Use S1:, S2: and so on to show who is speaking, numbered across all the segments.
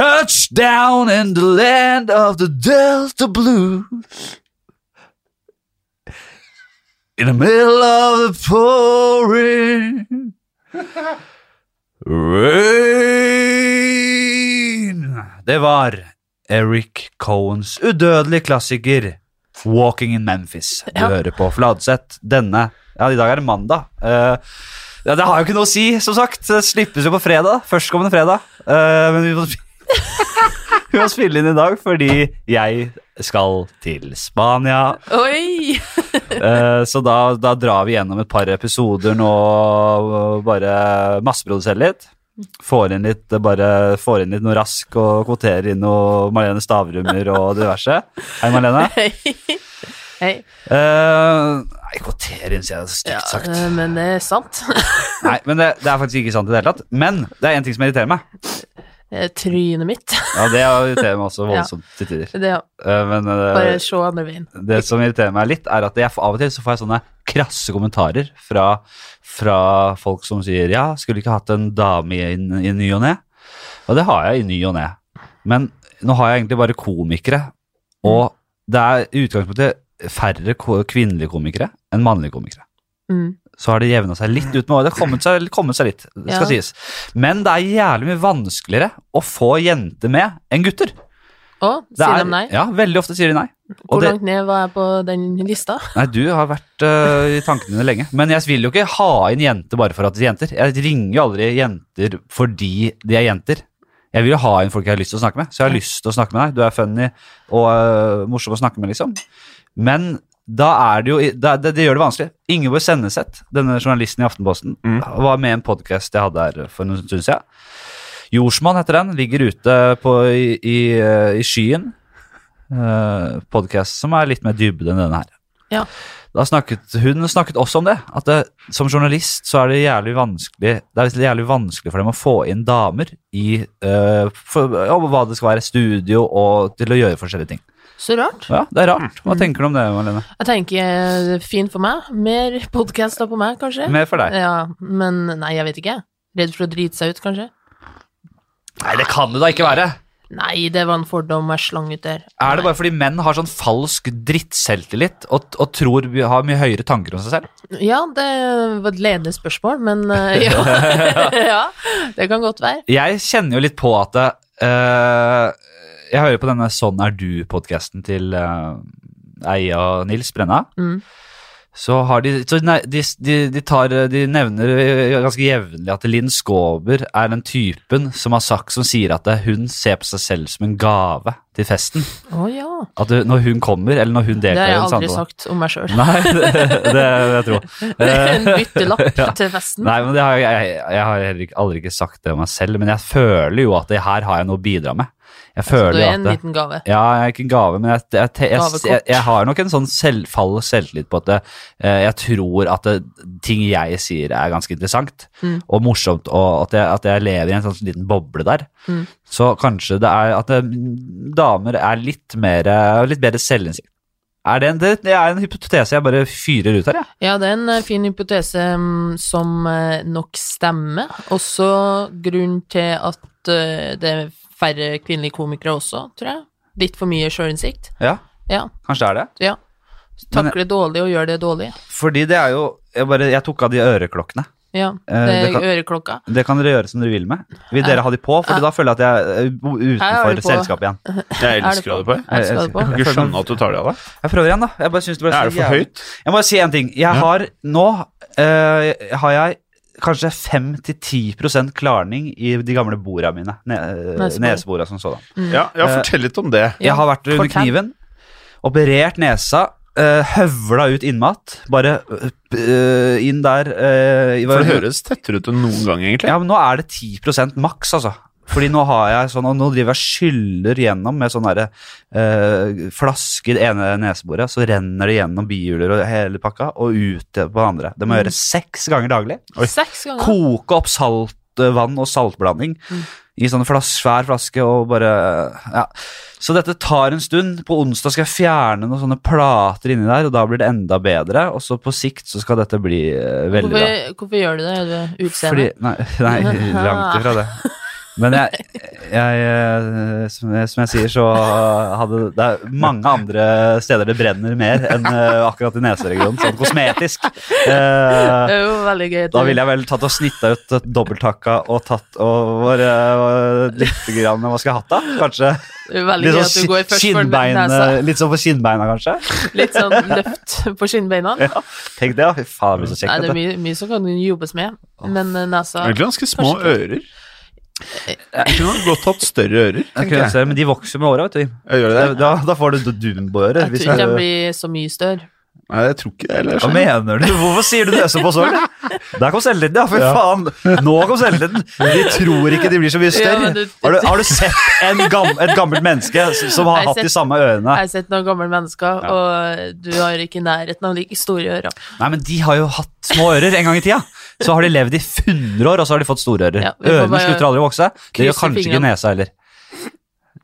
S1: Touchdown in the land of the Delta Blues. In the middle of the pouring rain. Det var Eric Cohens udødelige klassiker Walking in Memphis. Du
S2: Ja.
S1: hører på Fladseth. Denne Ja, i dag er det mandag. Eh, ja, det har jo ikke noe å si, som sagt. Det slippes jo på fredag. Førstkommende fredag. Eh, men vi må, sp- vi må spille inn i dag fordi jeg skal til Spania.
S2: Oi!
S1: Eh, så da, da drar vi gjennom et par episoder nå og bare masseproduserer litt. Får inn litt, eh, bare, får inn litt noe rask og kvoterer inn noe Marlene Stavrummer og diverse. Hei, Marlene.
S2: Hei. Hei.
S1: Eh, nei, kvoterer inn, sier jeg. Stygt
S2: Ja,
S1: sagt.
S2: eh, men det er sant.
S1: Nei, men det, det er faktisk ikke sant i det hele tatt. Men det er én ting som irriterer meg.
S2: Eh, Trynet mitt.
S1: Ja, det irriterer meg også voldsomt til tider.
S2: Det, ja.
S1: Eh, Men eh,
S2: Bare se andre veien.
S1: det som irriterer meg litt, er at jeg får- av og til så får jeg sånne krasse kommentarer fra, fra folk som sier ja, skulle ikke hatt en dame i, i ny og ne. Og det har jeg i ny og ne. Men nå har jeg egentlig bare komikere, og
S2: Mm.
S1: det er i utgangspunktet færre ko- kvinnelige komikere enn mannlige komikere.
S2: Mm.
S1: Så har det jevna seg litt ut med året. Det har kommet seg, kommet seg litt, det skal
S2: Ja.
S1: sies. Men det er jævlig mye vanskeligere å få jenter med enn gutter.
S2: Å,
S1: Det
S2: sier
S1: er-
S2: de nei?
S1: Ja, veldig ofte sier de nei.
S2: Hvor
S1: det-
S2: langt ned var jeg på den lista?
S1: Nei, du har vært øh, i tankene dine lenge. Men jeg vil jo ikke ha inn jenter bare for at de er jenter. Jeg ringer jo aldri jenter fordi de er jenter. Jeg vil jo ha inn folk jeg har lyst til å snakke med. Så jeg har lyst til å snakke med deg. Du er funny og øh, morsom å snakke med, liksom. Men da er det jo da, det, det gjør det vanskelig. Ingeborg Senneset, denne journalisten i Aftenposten, var med i en podkast jeg hadde her for en stund siden. Jordsmonn heter den. Ligger ute på, i, i, øh, i skyen. Uh, podkast som er litt mer dybde enn denne her
S2: Ja.
S1: da snakket, hun snakket også om det, at det, som journalist så er det jævlig vanskelig det er jævlig vanskelig for dem å få inn damer i eh, for, om hva det skal være, studio og til å gjøre forskjellige ting.
S2: Så rart.
S1: Ja, Det er rart. Hva tenker du om det, Malene?
S2: Jeg tenker eh, fint for meg. Mer podcaster på meg, kanskje.
S1: Mer for deg.
S2: Ja, men nei, jeg vet ikke. Redd for å drite seg ut, kanskje?
S1: Nei, det kan det da ikke være!
S2: Nei, det var en fordom jeg slang ut der.
S1: Er det bare fordi menn har sånn falsk drittselvtillit og, og tror vi har mye høyere tanker om seg selv?
S2: Ja, det var et ledende spørsmål, men eh, ja. ja. Det kan godt være.
S1: Jeg kjenner jo litt på at eh, Jeg hører på denne Sånn er du-podkasten til eh, Eia og Nils Brenna.
S2: Mm.
S1: så har de, så nei, de, de, de, tar, de nevner eh, ganske jevnlig at Linn Skåber er den typen som har sagt som sier at eh, hun ser på seg selv som en gave til festen.
S2: Å ja.
S1: At eh, når hun kommer, eller når hun
S2: Det har
S1: deltar i
S2: jeg
S1: en
S2: aldri
S1: samtale
S2: sagt om meg sjøl.
S1: Nei, det, det vil jeg tro. Eh,
S2: En byttelapp
S1: Ja.
S2: til festen.
S1: Nei, men det har, jeg, jeg, jeg har heller ikke- aldri ikke sagt det om meg selv, men jeg føler jo at det her har jeg noe å bidra med. Jeg føler
S2: Altså, Du
S1: jo
S2: er
S1: at
S2: en
S1: det,
S2: liten gave.
S1: Ja, jeg er ikke en gave, men jeg, jeg, jeg, jeg,
S2: Gavekort.
S1: jeg, har nok en sånn selv, falsk selvtillit på at det, eh, jeg tror at det, ting jeg sier er ganske interessant
S2: Mm.
S1: og morsomt, og at jeg, at jeg lever i en sånn liten boble der.
S2: Mm.
S1: Så kanskje det er at eh, damer er litt mer, litt bedre selvinnsikt. Er det, en, det, det er en hypotese jeg bare fyrer ut her, jeg.
S2: Ja, det er en eh, fin hypotese mm, som eh, nok stemmer. Også grunn til at eh, det er færre kvinnelige komikere også, tror jeg. Litt for mye sjølinnsikt.
S1: Ja.
S2: Ja.
S1: Kanskje det er det.
S2: ja.
S1: Men- eh,
S2: Takle dårlig og gjør det dårlig.
S1: Fordi det er jo Jeg, bare, jeg tok av de øreklokkene.
S2: Ja.
S1: Eh,
S2: Det
S1: det
S2: er
S1: kan-
S2: øreklokka.
S1: Det kan dere gjøre som dere vil med. Vil dere ha de på? Fordi da føler jeg at jeg er
S2: har de
S1: utenfor
S2: på.
S1: selskapet igjen.
S3: Jeg
S2: Er det
S3: elsker å ha det
S2: på?
S3: på. jeg.
S2: Jeg skal ha det på.
S3: Jeg kan ikke skjønne at du tar det av deg.
S1: Jeg prøver igjen, da. Jeg bare synes det ble så
S3: Er det for
S1: jævlig-
S3: høyt?
S1: Jeg må bare si en ting. Jeg har nå eh, har jeg kanskje 5-10 klarning i de gamle borda mine. Ne eh,
S2: Nesebor.
S1: nesebora som sådan.
S3: Ja, ja, fortell litt om det.
S2: Ja,
S1: Jeg har vært under
S2: fortell.
S1: kniven, operert nesa, eh, høvla ut innmat. Bare eh, inn der eh, i-
S3: For det høres tettere ut enn noen gang, egentlig.
S1: Ja, men nå er det 10 maks, altså. Fordi nå har jeg sånn, og nå driver jeg og skyller gjennom med sånn derre eh, flaske i det ene neseboret, så renner det gjennom bihjuler og hele pakka, og ut på det andre. Det må jeg gjøre seks ganger daglig.
S2: Seks ganger.
S1: Koke opp saltvann og saltblanding i sånn flas svær flaske og bare Ja. Så dette tar en stund. På onsdag skal jeg fjerne noen sånne plater inni der, og da blir det enda bedre. Og så på sikt så skal dette bli eh, veldig bra.
S2: Hvorfor, hvorfor gjør du det? Er du
S1: Fordi, eh,
S2: utseende?
S1: nei, nei, langt ifra det. Men jeg, jeg, eh, som, jeg, som jeg sier, så hadde det er mange andre steder det brenner mer enn eh, akkurat i neseregionen, sånn kosmetisk. Eh,
S2: Det er jo veldig gøy.
S1: da ville jeg vel tatt og snitta ut et dobbelthakka og tatt over eh, litt grann Hva skal jeg hatt, da? Kanskje
S2: Det er jo veldig
S1: litt
S2: gøy at du
S1: sånn
S2: går
S1: ki-
S2: først for
S1: kinnbein,
S2: nesa.
S1: eh, litt sånn på kinnbeina, kanskje?
S2: Litt sånn løft på skinnbeina.
S1: Ja, Tenk det, ja. Fy faen, det blir så
S2: Nei,
S1: kjekt.
S2: det er
S1: dette.
S2: mye, mye som kan jobbes med, men eh, nesa
S3: Egentlig ganske små ører. Jeg kunne godt hatt større ører,
S1: Jeg
S3: tenker
S1: kunne
S3: jeg.
S1: ønske det, Men de vokser med åra, vet du.
S3: jeg gjør det
S1: Da, da får du dumboører.
S2: Jeg
S1: hvis
S2: tror ikke
S1: du-
S2: den blir så mye større.
S3: Nei, jeg tror ikke det.
S1: Hva
S3: Eller,
S1: mener du? Hvorfor sier du det såpass òg? Der kom selvtilliten, ja. For faen. Nå kom selvtilliten. De tror ikke de blir så mye
S2: Ja,
S1: større.
S2: men du-
S1: Har, du, har du sett en gam, et gammelt menneske s- som har
S2: Jeg har
S1: hatt de
S2: sett-
S1: samme ørene?
S2: Jeg har sett noen gamle mennesker,
S1: Ja.
S2: og du har ikke nærheten av like store ører.
S1: Nei, men de har jo hatt små ører en gang i tida. Så har de levd i 100 år, og så har de fått store ører.
S2: Ja, vi får
S1: Ørene
S2: bare
S1: slutter aldri å vokse. Det gjør
S2: krysse
S1: kanskje ikke
S2: fingrene.
S1: nesa heller.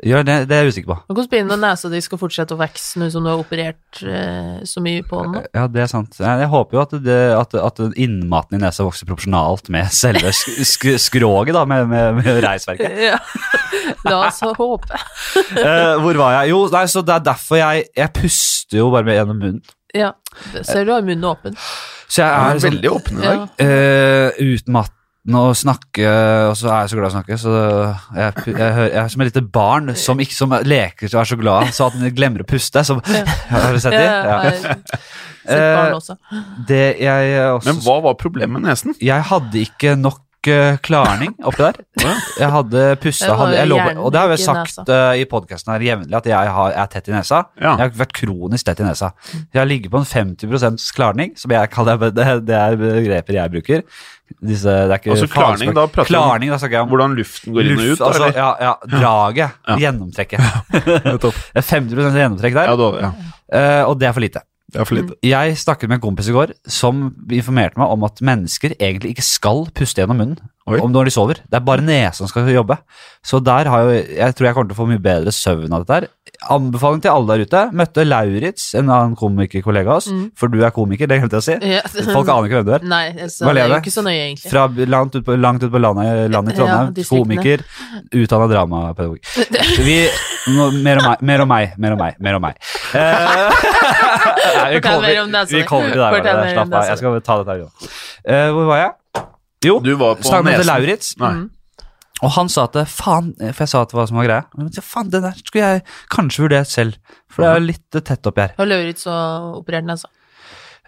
S1: Gjør det, det er jeg usikker på.
S2: Men hvordan begynner nesa di skal fortsette å vokse nå som du har operert eh, så mye på den? da?
S1: Ja, det er sant. Nei, Jeg håper jo at, det, at, at innmaten i nesa vokser proporsjonalt med selve sk sk skroget, da, med, med, med reisverket.
S2: Ja. La oss håpe.
S1: Eh, hvor var jeg? Jo, nei, så det er derfor jeg Jeg puster jo bare med gjennom munnen.
S2: Ja. Ser du har munnen åpen?
S1: Så jeg
S3: er
S1: er sånn
S3: veldig åpen i dag.
S2: Ja.
S1: eh, utmattende å snakke, og så er jeg så glad i å snakke, så jeg, pu- jeg, hører, jeg er som et lite barn som, ikke, som leker og er så glad, så at den glemmer å puste. Som,
S2: Ja.
S1: har du sett det?
S2: Ja,
S1: Ja.
S2: jeg har sett barn også.
S1: Det jeg også
S3: Men hva var problemet med nesen?
S1: Jeg hadde ikke nok eh, klarning oppi der. Jeg hadde pusta
S2: Det var
S1: hadde, jeg
S2: jo
S1: lover,
S2: hjernen, altså.
S1: Og det har jeg
S2: ikke
S1: sagt eh, i podkasten her jevnlig, at jeg har, er tett i nesa.
S3: Ja.
S1: Jeg har vært kronisk tett i nesa. Jeg ligger på en 50 klarning, som jeg kaller det. Det det er begreper jeg bruker. Disse, det er ikke
S3: Altså
S1: fagspråk.
S3: klarning, da prater vi om-
S1: Klarning, da snakker jeg om
S3: Hvordan luften går inn og
S1: luft,
S3: ut? da,
S1: altså,
S3: eller?
S1: ja, ja, draget.
S3: Ja.
S1: Gjennomtrekket.
S3: Nettopp.
S1: Det er 50 gjennomtrekk der,
S3: Ja, da, ja.
S1: eh, og det er for lite.
S3: Det er for lite.
S1: Jeg snakket med en kompis i går som informerte meg om at mennesker egentlig ikke skal puste gjennom munnen
S3: Oi.
S1: om når de sover. Det er bare nesa som skal jobbe. Så der har jo, jeg tror jeg kommer til å få mye bedre søvn av dette her. Anbefaling til alle der ute. Møtte Lauritz, en annen komikerkollega av oss,
S2: Mm.
S1: for du er komiker, Eh, det glemte jeg å si.
S2: Ja.
S1: Folk aner ikke hvem du er.
S2: Nei, altså,
S1: Hva
S2: det er
S1: lever?
S2: jo ikke så nøye, egentlig.
S1: Fra langt ut på, langt ut på landet, landet i Trondheim,
S2: Ja, distriktene.
S1: komiker, utdanna dramapedagog. Vi, nå, mer om meg, mer om meg, mer om meg. Mer om meg. Eh, nei, vi,
S2: Fortell mer om
S1: kommer,
S2: nesa
S1: vi
S2: di.
S1: kommer til deg,
S2: Fortell
S1: Vardø.
S2: mer om
S1: Slapp av.
S2: nesa
S1: Jeg skal ta dette her. unna. Eh, hvor var jeg? Jo,
S3: Du var på
S1: snakket med til
S3: nesen.
S1: Lauritz,
S3: Nei.
S2: Mm.
S1: og han sa at eh, faen For jeg sa at hva som var greia. Men jeg sa, faen, det der skulle jeg kanskje vurdert selv, for det er litt eh, tett oppi her.
S2: Har Lauritz og operert nesa?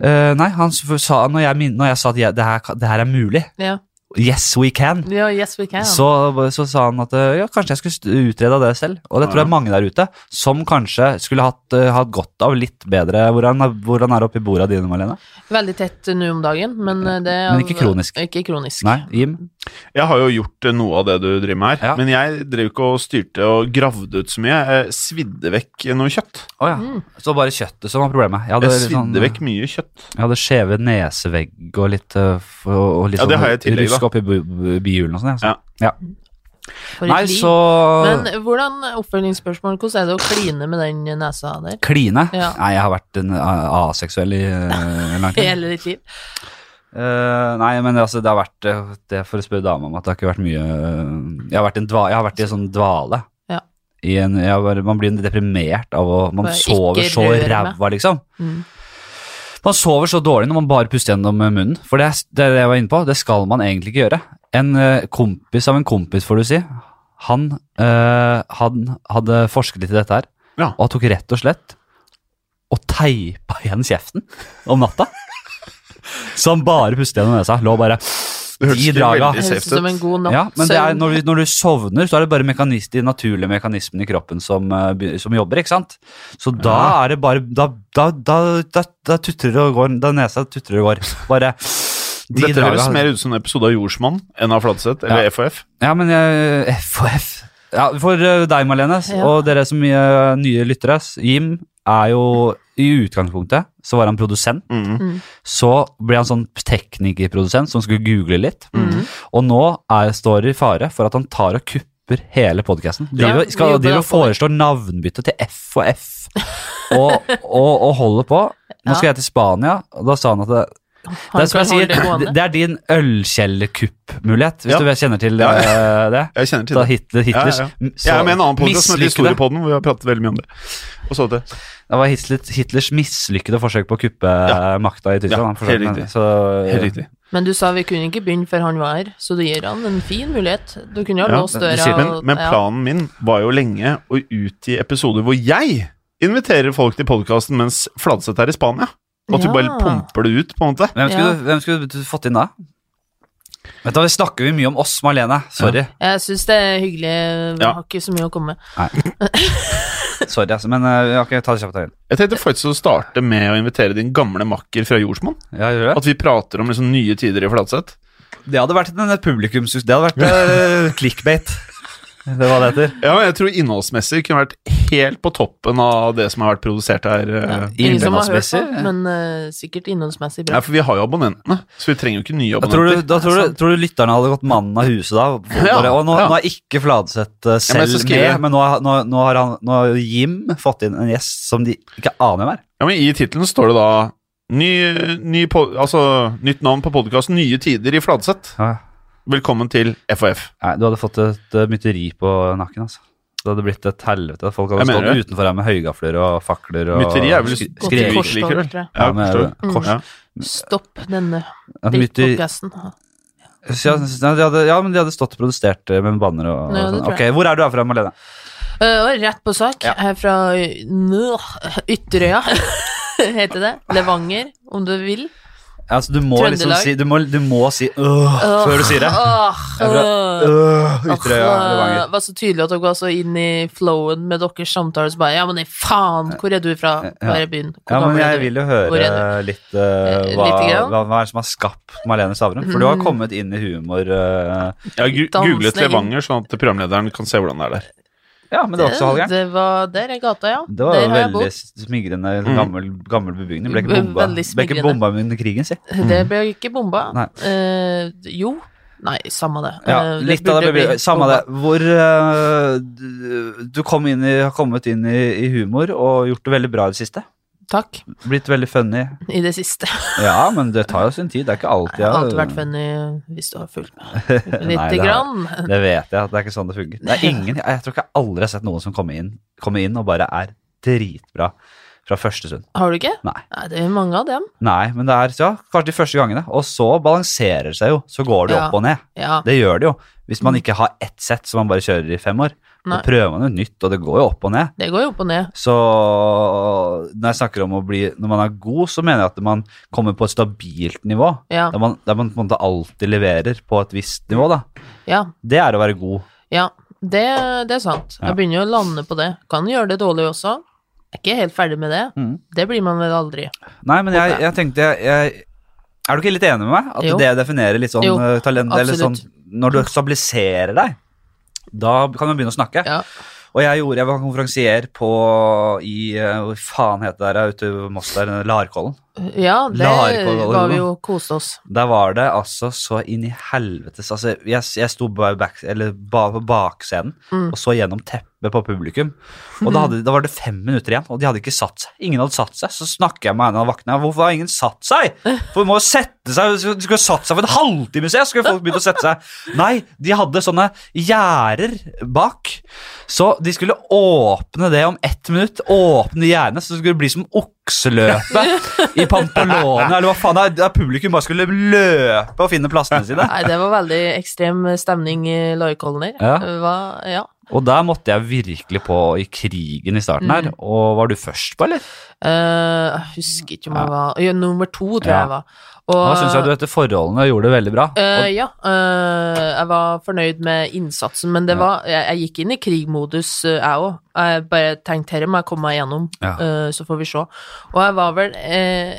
S1: Eh, nei, han s- sa, når jeg, min- når jeg sa at jeg, det, her, kan- det her er mulig,
S2: Ja.
S1: yes we can,
S2: ja, yes we can.
S1: så, så sa han at eh, ja, kanskje jeg skulle st- utrede det selv. Og det tror jeg er mange der ute som kanskje skulle hatt, eh, hatt godt av litt bedre Hvordan, er- hvordan er det oppi bordet dine, Malene?
S2: Veldig tett nå om dagen, men eh, det er
S1: Men ikke
S2: av-
S1: kronisk.
S2: Ikke kronisk.
S1: Nei, Jim?
S3: Jeg har jo gjort eh, noe av det du driver med her,
S1: Ja.
S3: men jeg drev ikke og styrte og gravde ut så mye. Jeg svidde vekk noe kjøtt.
S1: Å ja.
S3: Mm.
S1: Så bare kjøttet som var problemet. Jeg hadde,
S3: Jeg
S1: litt sånn,
S3: svidde vekk mye kjøtt.
S1: jeg hadde skjeve nesevegg og litt, eh, f- og litt
S3: Ja, det har jeg i tillegg,
S1: rusk
S3: da.
S1: oppi bu- bu- bihulene og sånn. jeg, Så.
S2: For et
S1: Nei,
S2: liv.
S1: så
S2: Men hvordan, oppfølgingsspørsmål, hvordan er det å kline med den nesa der?
S1: Kline?
S2: Ja.
S1: Nei, jeg har vært en a- aseksuell i eh, lang tid.
S2: Hele ditt liv?
S1: Eh, nei, men altså, det har vært eh, Det er for å spørre dama om at det har ikke vært mye eh, Jeg har vært, i en dva, jeg har vært i en sånn dvale.
S2: Ja.
S1: I en, jeg har bare, man blir deprimert av å Man
S2: Bare
S1: sover
S2: ikke
S1: så
S2: rør meg.
S1: ræva, liksom.
S2: Mm.
S1: Man sover så dårlig når man bare puster gjennom eh, munnen. For det, er- det er det jeg var inne på. Det skal man egentlig ikke gjøre. En eh, kompis av en kompis, får du si, han, eh, han hadde forsket litt i dette her.
S3: Ja.
S1: Og han tok rett og slett og teipa igjen kjeften om natta. Så han bare pustet gjennom nesa. Lå bare
S3: Det hørtes
S1: i
S3: ikke
S1: draga.
S2: Det
S3: veldig
S2: høres
S3: safe
S2: ut som
S3: ut.
S2: en god natt.
S1: Ja, men det er,
S2: søvn.
S1: når, du, når du sovner, så er det bare mekanis, de naturlige mekanismene i kroppen som, eh, be- som jobber, ikke sant? Så da er det bare Da, da, da, da, da tutrer det og går. Da nesa tutrer og går. Bare de
S3: Dette høres
S1: draga-
S3: mer ut som en episode av Jordsmann enn av Fladseth eller FHF.
S1: Ja, men jeg, FHF ja, For eh, deg, Marlene, s-
S2: Ja.
S1: og dere som eh, nye lyttere, s- Jim er jo I utgangspunktet så var han produsent.
S3: Mm.
S1: Så ble han sånn teknikerprodusent som skulle google litt.
S3: Mm.
S2: Mhm.
S1: Og nå er, står det i fare for at han tar og kupper hele podkasten. De,
S2: Ja, vi
S1: skal,
S2: jobber
S1: de
S2: da
S1: vil
S2: for
S1: foreslå navnbytte til F og F. Og, og, og holder på. Nå skal jeg til Spania, og da sa han at det, Det er,
S2: Han
S1: som jeg
S2: kan holde
S1: sier,
S2: det gående.
S1: det er din ølkjellerkupp-mulighet, hvis
S3: Ja.
S1: du kjenner til
S3: Ja,
S1: eh, det.
S3: Jeg kjenner til
S1: Da
S3: det.
S1: Hitler, Hitlers
S3: Ja, Jeg er med i en annen podcast som heter
S1: mislykkede-
S3: Historiepodden, hvor vi har pratet veldig mye om det. Og så det.
S1: Det var Hitlers, Hitlers mislykkede forsøk på å kuppe eh, makta i Tyskland.
S3: Ja,
S1: han forsøkte
S3: helt
S1: med-
S3: riktig.
S1: Så,
S3: Helt riktig.
S2: Men du sa vi kunne ikke begynne før han var her, så du gir han en fin mulighet. Du kunne jo ha
S3: Ja,
S2: låst
S1: du
S2: døra.
S1: sier-
S3: Men,
S2: og-
S3: men
S2: ja.
S3: planen min var jo lenge å utgi episoder hvor jeg inviterer folk til podkasten mens Fladseth er i Spania. Og at du bare
S2: Ja.
S3: pumper det ut, på en måte.
S1: Hvem skulle,
S2: Ja.
S1: du- hvem skulle du fått inn da? Vet du, hva, Vi snakker jo mye om oss, Marlene. Sorry.
S2: Jeg syns det er hyggelig. Vi
S3: Ja.
S2: har ikke så mye å komme med.
S1: Sorry altså, men eh, ok, ta det kjapt. Øyvind.
S3: Jeg tenkte faktisk å starte med å invitere din gamle makker fra Jordsmonn.
S1: Ja, gjør du det?
S3: At vi prater om liksom nye tider i Fladseth.
S1: det hadde vært en publikumsus... Det hadde vært eh, clickbait. Det var det heter.
S3: Ja, men jeg tror innholdsmessig kunne vært helt på toppen av det som har vært produsert her.
S2: Ja.
S3: eh.
S2: Ingen som har hørt på,
S1: innholdsmessig?
S2: men eh, sikkert innholdsmessig
S3: Nei,
S2: bra.
S3: for vi har jo abonnentene, så vi trenger jo ikke nye
S1: Da tror,
S3: abonnenter.
S1: du, da tror, du, tror du lytterne hadde gått mannen av huset da? Og
S3: Ja,
S1: Bare, og nå,
S3: ja.
S1: nå er ikke Fladseth eh,
S3: Ja, men
S1: selv
S3: så skriver jeg-
S1: med, men nå, har- nå, nå har han, nå har Jim fått inn en gjest som de ikke aner hvem er.
S3: Ja, men I tittelen står det da ny, ny po altså, Nytt navn på podkasten Nye tider i Fladseth. Velkommen til FHF.
S1: Nei, du hadde fått et eh, mytteri på nakken, altså. Det hadde blitt et helvete. Folk hadde
S3: Jeg mener
S1: stått utenfor her med høygafler og fakler og
S3: Mytteri er vel
S1: sk-
S2: Godt
S3: skriver
S1: skrek.
S3: ikke
S2: korstog,
S3: likevel.
S2: tror jeg.
S1: Ja,
S3: jeg forstår.
S1: med kors.
S3: Ja.
S2: Stopp denne
S1: Et mytteri-
S2: podkasten.
S1: Så jeg synes- nei, de hadde, ja, men de hadde stått og produsert eh, med banner og, og
S2: Ja, det
S1: sånn.
S2: tror
S1: Ok, Hvor er du herfra, Malene?
S2: Eh, og rett på sak, her fra Nå, Ytterøya, heter det. Levanger, om du vil.
S1: Altså, du må liksom
S2: Trøndelag.
S1: si Du må, du må si øh, før du sier det.
S2: Åh,
S1: Jeg er
S2: åh.
S1: Øh, Ytterøya,
S2: Åh,
S1: Levanger.
S2: Det var så tydelig at dere var så inn i flowen med deres samtaler, så bare Ja, men nei, faen, hvor er du fra? Hvor er byen? Hvor
S1: Ja, men
S2: gammel er
S1: jeg
S2: du?»
S1: vil jo
S2: Hvor
S1: høre
S2: er
S1: litt eh,
S2: Eh,
S1: hva,
S2: lite grann? Mm.
S1: hva, hva er det som har skapt Malene Stavrum. For du har kommet inn i humor eh,
S3: Jeg har gu-
S2: Dansende
S3: googlet
S2: inn.
S3: Levanger, sånn at programlederen kan se hvordan det er der.
S1: Ja, men det var ikke så halvgærent.
S2: Det var der er gata, ja.
S1: Det var
S2: der
S1: jo
S2: har jeg
S1: veldig
S2: bodd.
S1: smigrende gammel, gammel bebygning. Ble ikke
S2: Ve-
S1: bomba,
S2: veldig
S1: ble ikke
S2: smigrende.
S1: bomba under krigen, si.
S2: Det ble ikke bomba.
S1: Nei.
S2: Eh, jo. Nei, samme det.
S1: Ja,
S2: Eh,
S1: litt av det
S2: burde
S1: blir
S2: bli
S1: Samme det.
S2: bomba.
S1: Hvor eh, du- du kom inn i, har kommet inn i, i humor og gjort det veldig bra i det siste.
S2: Takk.
S1: Blitt veldig funny.
S2: I det siste.
S1: Ja, men det tar jo sin tid. Det er ikke alltid
S2: Jeg har alltid vært funny hvis du har fulgt med.
S1: det har
S2: Lite
S1: jeg.
S2: grann.
S1: Det vet jeg. at Det er ikke sånn det fungerer. Det er ingen, jeg tror ikke jeg aldri har sett noen som kommer inn, kommer inn og bare er dritbra fra første stund.
S2: Har du ikke?
S1: Nei.
S2: Nei, det er mange av dem.
S1: Nei, men det er ja, kanskje de første gangene. Og så balanserer det seg jo. Så går det jo
S2: Ja.
S1: opp og ned.
S2: Ja.
S1: Det gjør det jo. Hvis man ikke har ett sett som man bare kjører i fem år, da
S2: Mm. Nei.
S1: prøver man jo nytt, og det går jo opp og ned.
S2: Det går jo opp og ned.
S1: Så når jeg snakker om å bli Når man er god, så mener jeg at man kommer på et stabilt nivå.
S2: Ja.
S1: Der, man, der man på en måte alltid leverer på et visst nivå, da.
S2: Ja.
S1: Det er å være god.
S2: Ja, det, det er sant.
S1: Ja.
S2: Jeg begynner jo å lande på det. Kan gjøre det dårlig også. Jeg er ikke helt ferdig med det.
S1: Mhm.
S2: Det blir man vel aldri.
S1: Nei, men jeg, jeg tenkte jeg, jeg, Er du ikke litt enig med meg? At
S2: Jo.
S1: det definerer litt sånn
S2: Jo,
S1: eh, talent Eller sånn
S2: absolutt.
S1: Når du stabiliserer deg, da kan man begynne å snakke.
S2: Ja.
S1: Og jeg gjorde, jeg var konferansier på i eh, Hvor faen heter det der ute i Moss der? Larkollen.
S2: Ja, det
S1: Larkollen.
S2: var vi jo koste oss.
S1: Der var det altså så inn i helvetes altså, jeg, jeg sto bare back, eller ba, på bakscenen og så gjennom teppet på publikum. Og da, hadde, da var det fem minutter igjen, og de hadde ikke satt seg. Ingen hadde satt seg. Så snakker jeg med en av vaktene. Hvorfor har ingen satt seg? For vi må jo sette seg. Du skulle jo satt seg for en halvtime siden, skulle folk begynt å sette seg. Nei, de hadde sånne gjerder bak. Så de skulle åpne det om ett minutt. Åpne gjerdene, så det skulle bli som okseløpet i Pampelone. Eller hva faen, der, der publikum bare skulle løpe og finne plassene sine.
S2: Nei, det var veldig ekstrem stemning i Larkollen der.
S1: Ja.
S2: Det var- ja.
S1: Og der måtte jeg virkelig på i krigen i starten her. Og var du først på, eller?
S2: Eh, jeg husker ikke om jeg var ja, Nummer to, tror jeg
S1: Ja.
S2: jeg var. Og,
S1: Da syns jeg du etter forholdene gjorde det veldig bra.
S2: Eh,
S1: Og,
S2: ja, eh, jeg var fornøyd med innsatsen, men det var, jeg, jeg gikk inn i krigmodus, eh, jeg òg. Jeg bare tenkte herre må jeg komme meg gjennom,
S1: Ja.
S2: eh, så får vi se. Og jeg var vel eh,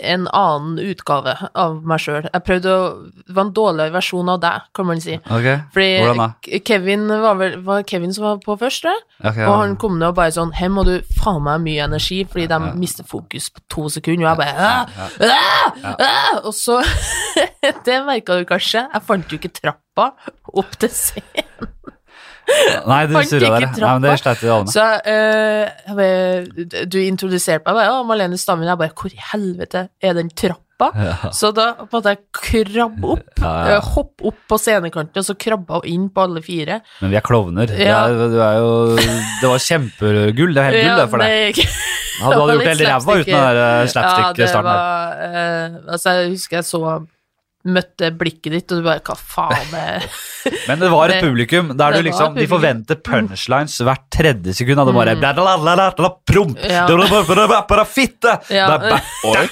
S2: en annen utgave av meg sjøl. Jeg prøvde å Det var en dårligere versjon av deg, kan man si.
S1: ok, hvordan da?
S2: Fordi K- Kevin var vel var Kevin som var på først, tror jeg.
S1: Ok, ja.
S2: Og han kom ned og bare sånn Her må du faen meg ha mye energi, fordi de mister fokus på to sekunder. Og jeg bare «Æ, æ, æ!» Og så Det merka du kanskje. Jeg fant jo ikke trappa opp til scenen.
S1: Nei, du
S2: Fant
S1: surra
S2: ikke
S1: der. Nei, men det
S2: trappa.
S1: sleit vi alle med.
S2: Så eh, jeg bare- du introduserte meg, jeg bare, ja, Malene Stammen. Jeg bare, hvor i helvete er den trappa?
S1: Ja.
S2: Så da måtte jeg krabbe opp,
S1: Ja, ja.
S2: eh, hoppe opp på scenekanten, og så krabba hun inn på alle fire.
S1: Men vi er klovner. Det,
S2: Ja.
S1: er, du er jo, det var kjempegull. Det er helt gull det, for deg.
S2: det-
S1: Ja, du
S2: det var
S1: hadde gjort
S2: litt
S1: helt ræva uten den der eh, slapstick-starten. der.
S2: Ja, det var eh, Altså, jeg husker jeg så Møtte blikket ditt, og du bare Hva faen er
S1: Men det var et
S2: Det-
S1: publikum der du
S2: det var
S1: liksom De
S2: publikum.
S1: forventer punchlines hvert tredje sekund, og det bare blablabla, promp,
S2: Ja.
S1: blablabla, bare fitte! Det er
S2: Ja.
S1: ba-
S3: Oi.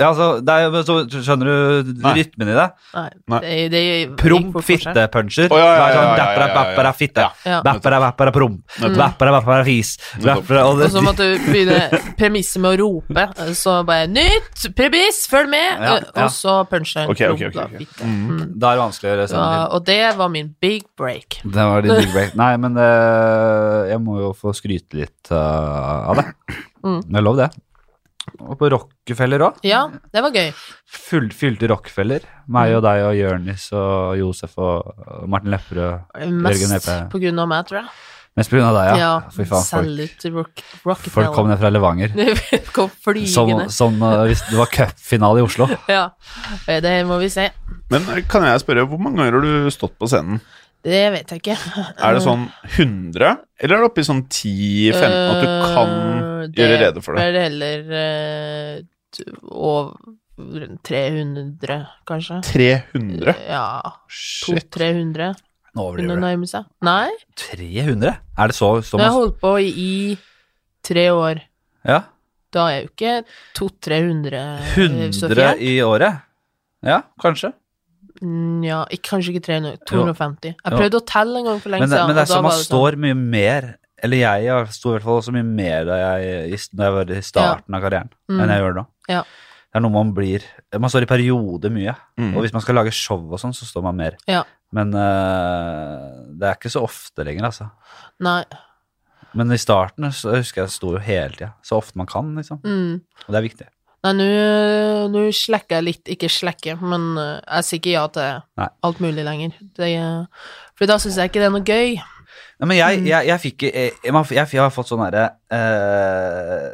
S1: Ja, altså, det er, jo- så skjønner du
S3: Nei.
S1: rytmen i det?
S2: Nei,
S3: Nei.
S2: det, det gikk
S1: Promp,
S2: fort for seg.
S1: fittepuncher.
S3: Å, ja, ja, ja,
S1: Det er sånn,
S3: ja, ja, ja,
S1: Dappera,
S3: ja, ja.
S1: bappera, fitte.
S2: Ja.
S1: Bappera, bappera, promp. Bappera, bappera, fis.
S3: Nettopp.
S1: Bappera, og
S2: Og så
S1: det,
S2: måtte du begynne premisset med å rope. Så bare 'Nytt premiss, følg med!'
S1: Ja, ja.
S2: Og så punchline.
S3: Ok, ok, ok,
S2: ropa,
S3: ok.
S2: fitte.
S1: Mm. da er det vanskelig å gjøre
S2: Så,
S1: sånn.
S2: og det var min big break.
S1: Det var din big break. Nei, men eh, jeg må jo få skryte litt eh, av det.
S2: Mm.
S1: Det er lov, det. Og på Rockefeller òg.
S2: Ja, det var gøy.
S1: Full, fylte Rockefeller. Meg og deg og Jørnis og Josef og og Martin Lepperød. Jørgen
S2: Mest
S1: Epe.
S2: på grunn av meg, tror jeg.
S1: Mest pga. deg, ja. Fy faen, folk,
S2: Salute til Rock,
S1: folk kom
S2: Rockefeller.
S1: ned Sånn- fra Levanger.
S2: kom
S1: Som,
S2: flygende.
S1: som eh, hvis det var cupfinale i Oslo.
S2: Ja, Eh, det må vi se.
S3: Men eh, kan jeg spørre, hvor mange ganger har du stått på scenen?
S2: Det vet jeg ikke. Eh.
S3: Er det sånn 100, eller er det oppe i sånn 10-15 at du kan
S2: Eh,
S3: gjøre rede for det?
S2: Det er heller eh, t- over 300, kanskje.
S3: 300?
S2: Ja,
S3: Shit.
S2: 200-300
S1: Nå
S2: begynner å
S1: overdriver du.
S2: nærme seg. Nei,
S1: 300? Er det så, så
S2: jeg har
S1: masse?
S2: holdt på i tre år.
S1: Ja.
S2: Da er jeg jo ikke 200-300
S1: 100 i året? Ja, kanskje.
S2: Mm, Ja, ikke, kanskje ikke 300,
S1: Jo.
S2: 250.
S1: Jo.
S2: Jeg prøvde å telle en gang for lenge
S1: Men, det-
S2: siden.
S1: men det er
S2: og da
S1: som
S2: var
S1: man
S2: det sånn-
S1: står mye mer Eller jeg har- sto i hvert fall også mye mer da jeg, i s- da jeg var i starten av karrieren enn jeg
S2: mm,
S1: gjør nå.
S2: Ja.
S1: Det er noe man blir Man står i perioder mye.
S3: Mm.
S1: Og hvis man skal lage show og sånn, så står man mer.
S2: Ja.
S1: Men eh, det er ikke så ofte lenger, altså.
S2: Nei.
S1: Men i starten så husker jeg jeg sto jo hele tida. Så ofte man kan, liksom.
S2: Mm.
S1: Og det er viktig.
S2: Nei, nå nå slekker jeg litt. Ikke slekker, men eh, jeg sier ikke ja til
S1: Nei.
S2: alt mulig lenger. Det, eh, for da syns jeg ikke det er noe gøy.
S1: Nei, men jeg,
S2: Mm.
S1: jeg, jeg fikk jeg, jeg, man- jeg, jeg har fått sånn derre eh,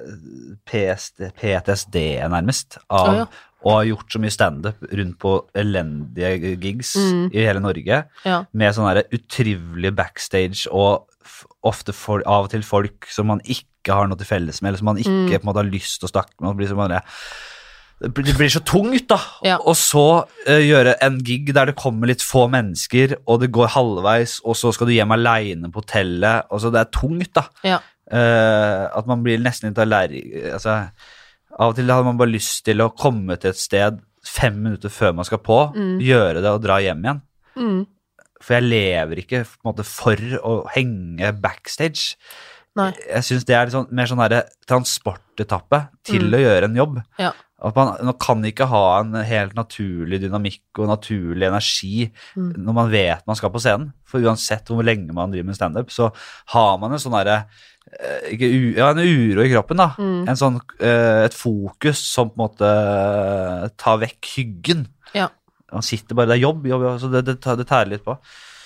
S1: PST PTSD, nærmest, av
S2: Å, ja.
S1: å ha gjort så mye standup rundt på elendige gigs
S2: Mm.
S1: i hele Norge,
S2: Ja.
S1: med sånn derre utrivelig backstage og f ofte for, av og til folk som man ikke har noe til felles med, eller som man ikke
S2: Mm.
S1: på en måte har lyst til å snakke med. Man blir sånn derre- det blir- det blir så tungt, da.
S2: Ja.
S1: Og så eh, gjøre en gig der det kommer litt få mennesker, og det går halvveis, og så skal du hjem aleine på hotellet. Og så det er tungt, da.
S2: Ja.
S1: Eh, at man blir nesten litt allergisk altså, Av og til hadde man bare lyst til å komme til et sted fem minutter før man skal på,
S2: Mm.
S1: gjøre det og dra hjem igjen.
S2: Mm.
S1: For jeg lever ikke på en måte, for å henge backstage.
S2: Nei.
S1: Jeg syns det er litt sånn, mer sånn derre transportetappe til
S2: Mm.
S1: å gjøre en jobb.
S2: Ja.
S1: At man, man kan ikke ha en helt naturlig dynamikk og naturlig energi
S2: Mm.
S1: når man vet man skal på scenen. For uansett hvor lenge man driver med standup, så har man en sånn derre eh, ikke u- ja, en uro i kroppen, da.
S2: Mm.
S1: En sånn, eh, et fokus som på en måte eh, tar vekk hyggen.
S2: Ja.
S1: Man sitter bare Det er jobb, jobb, jobb så det, det, tar- det tærer litt på.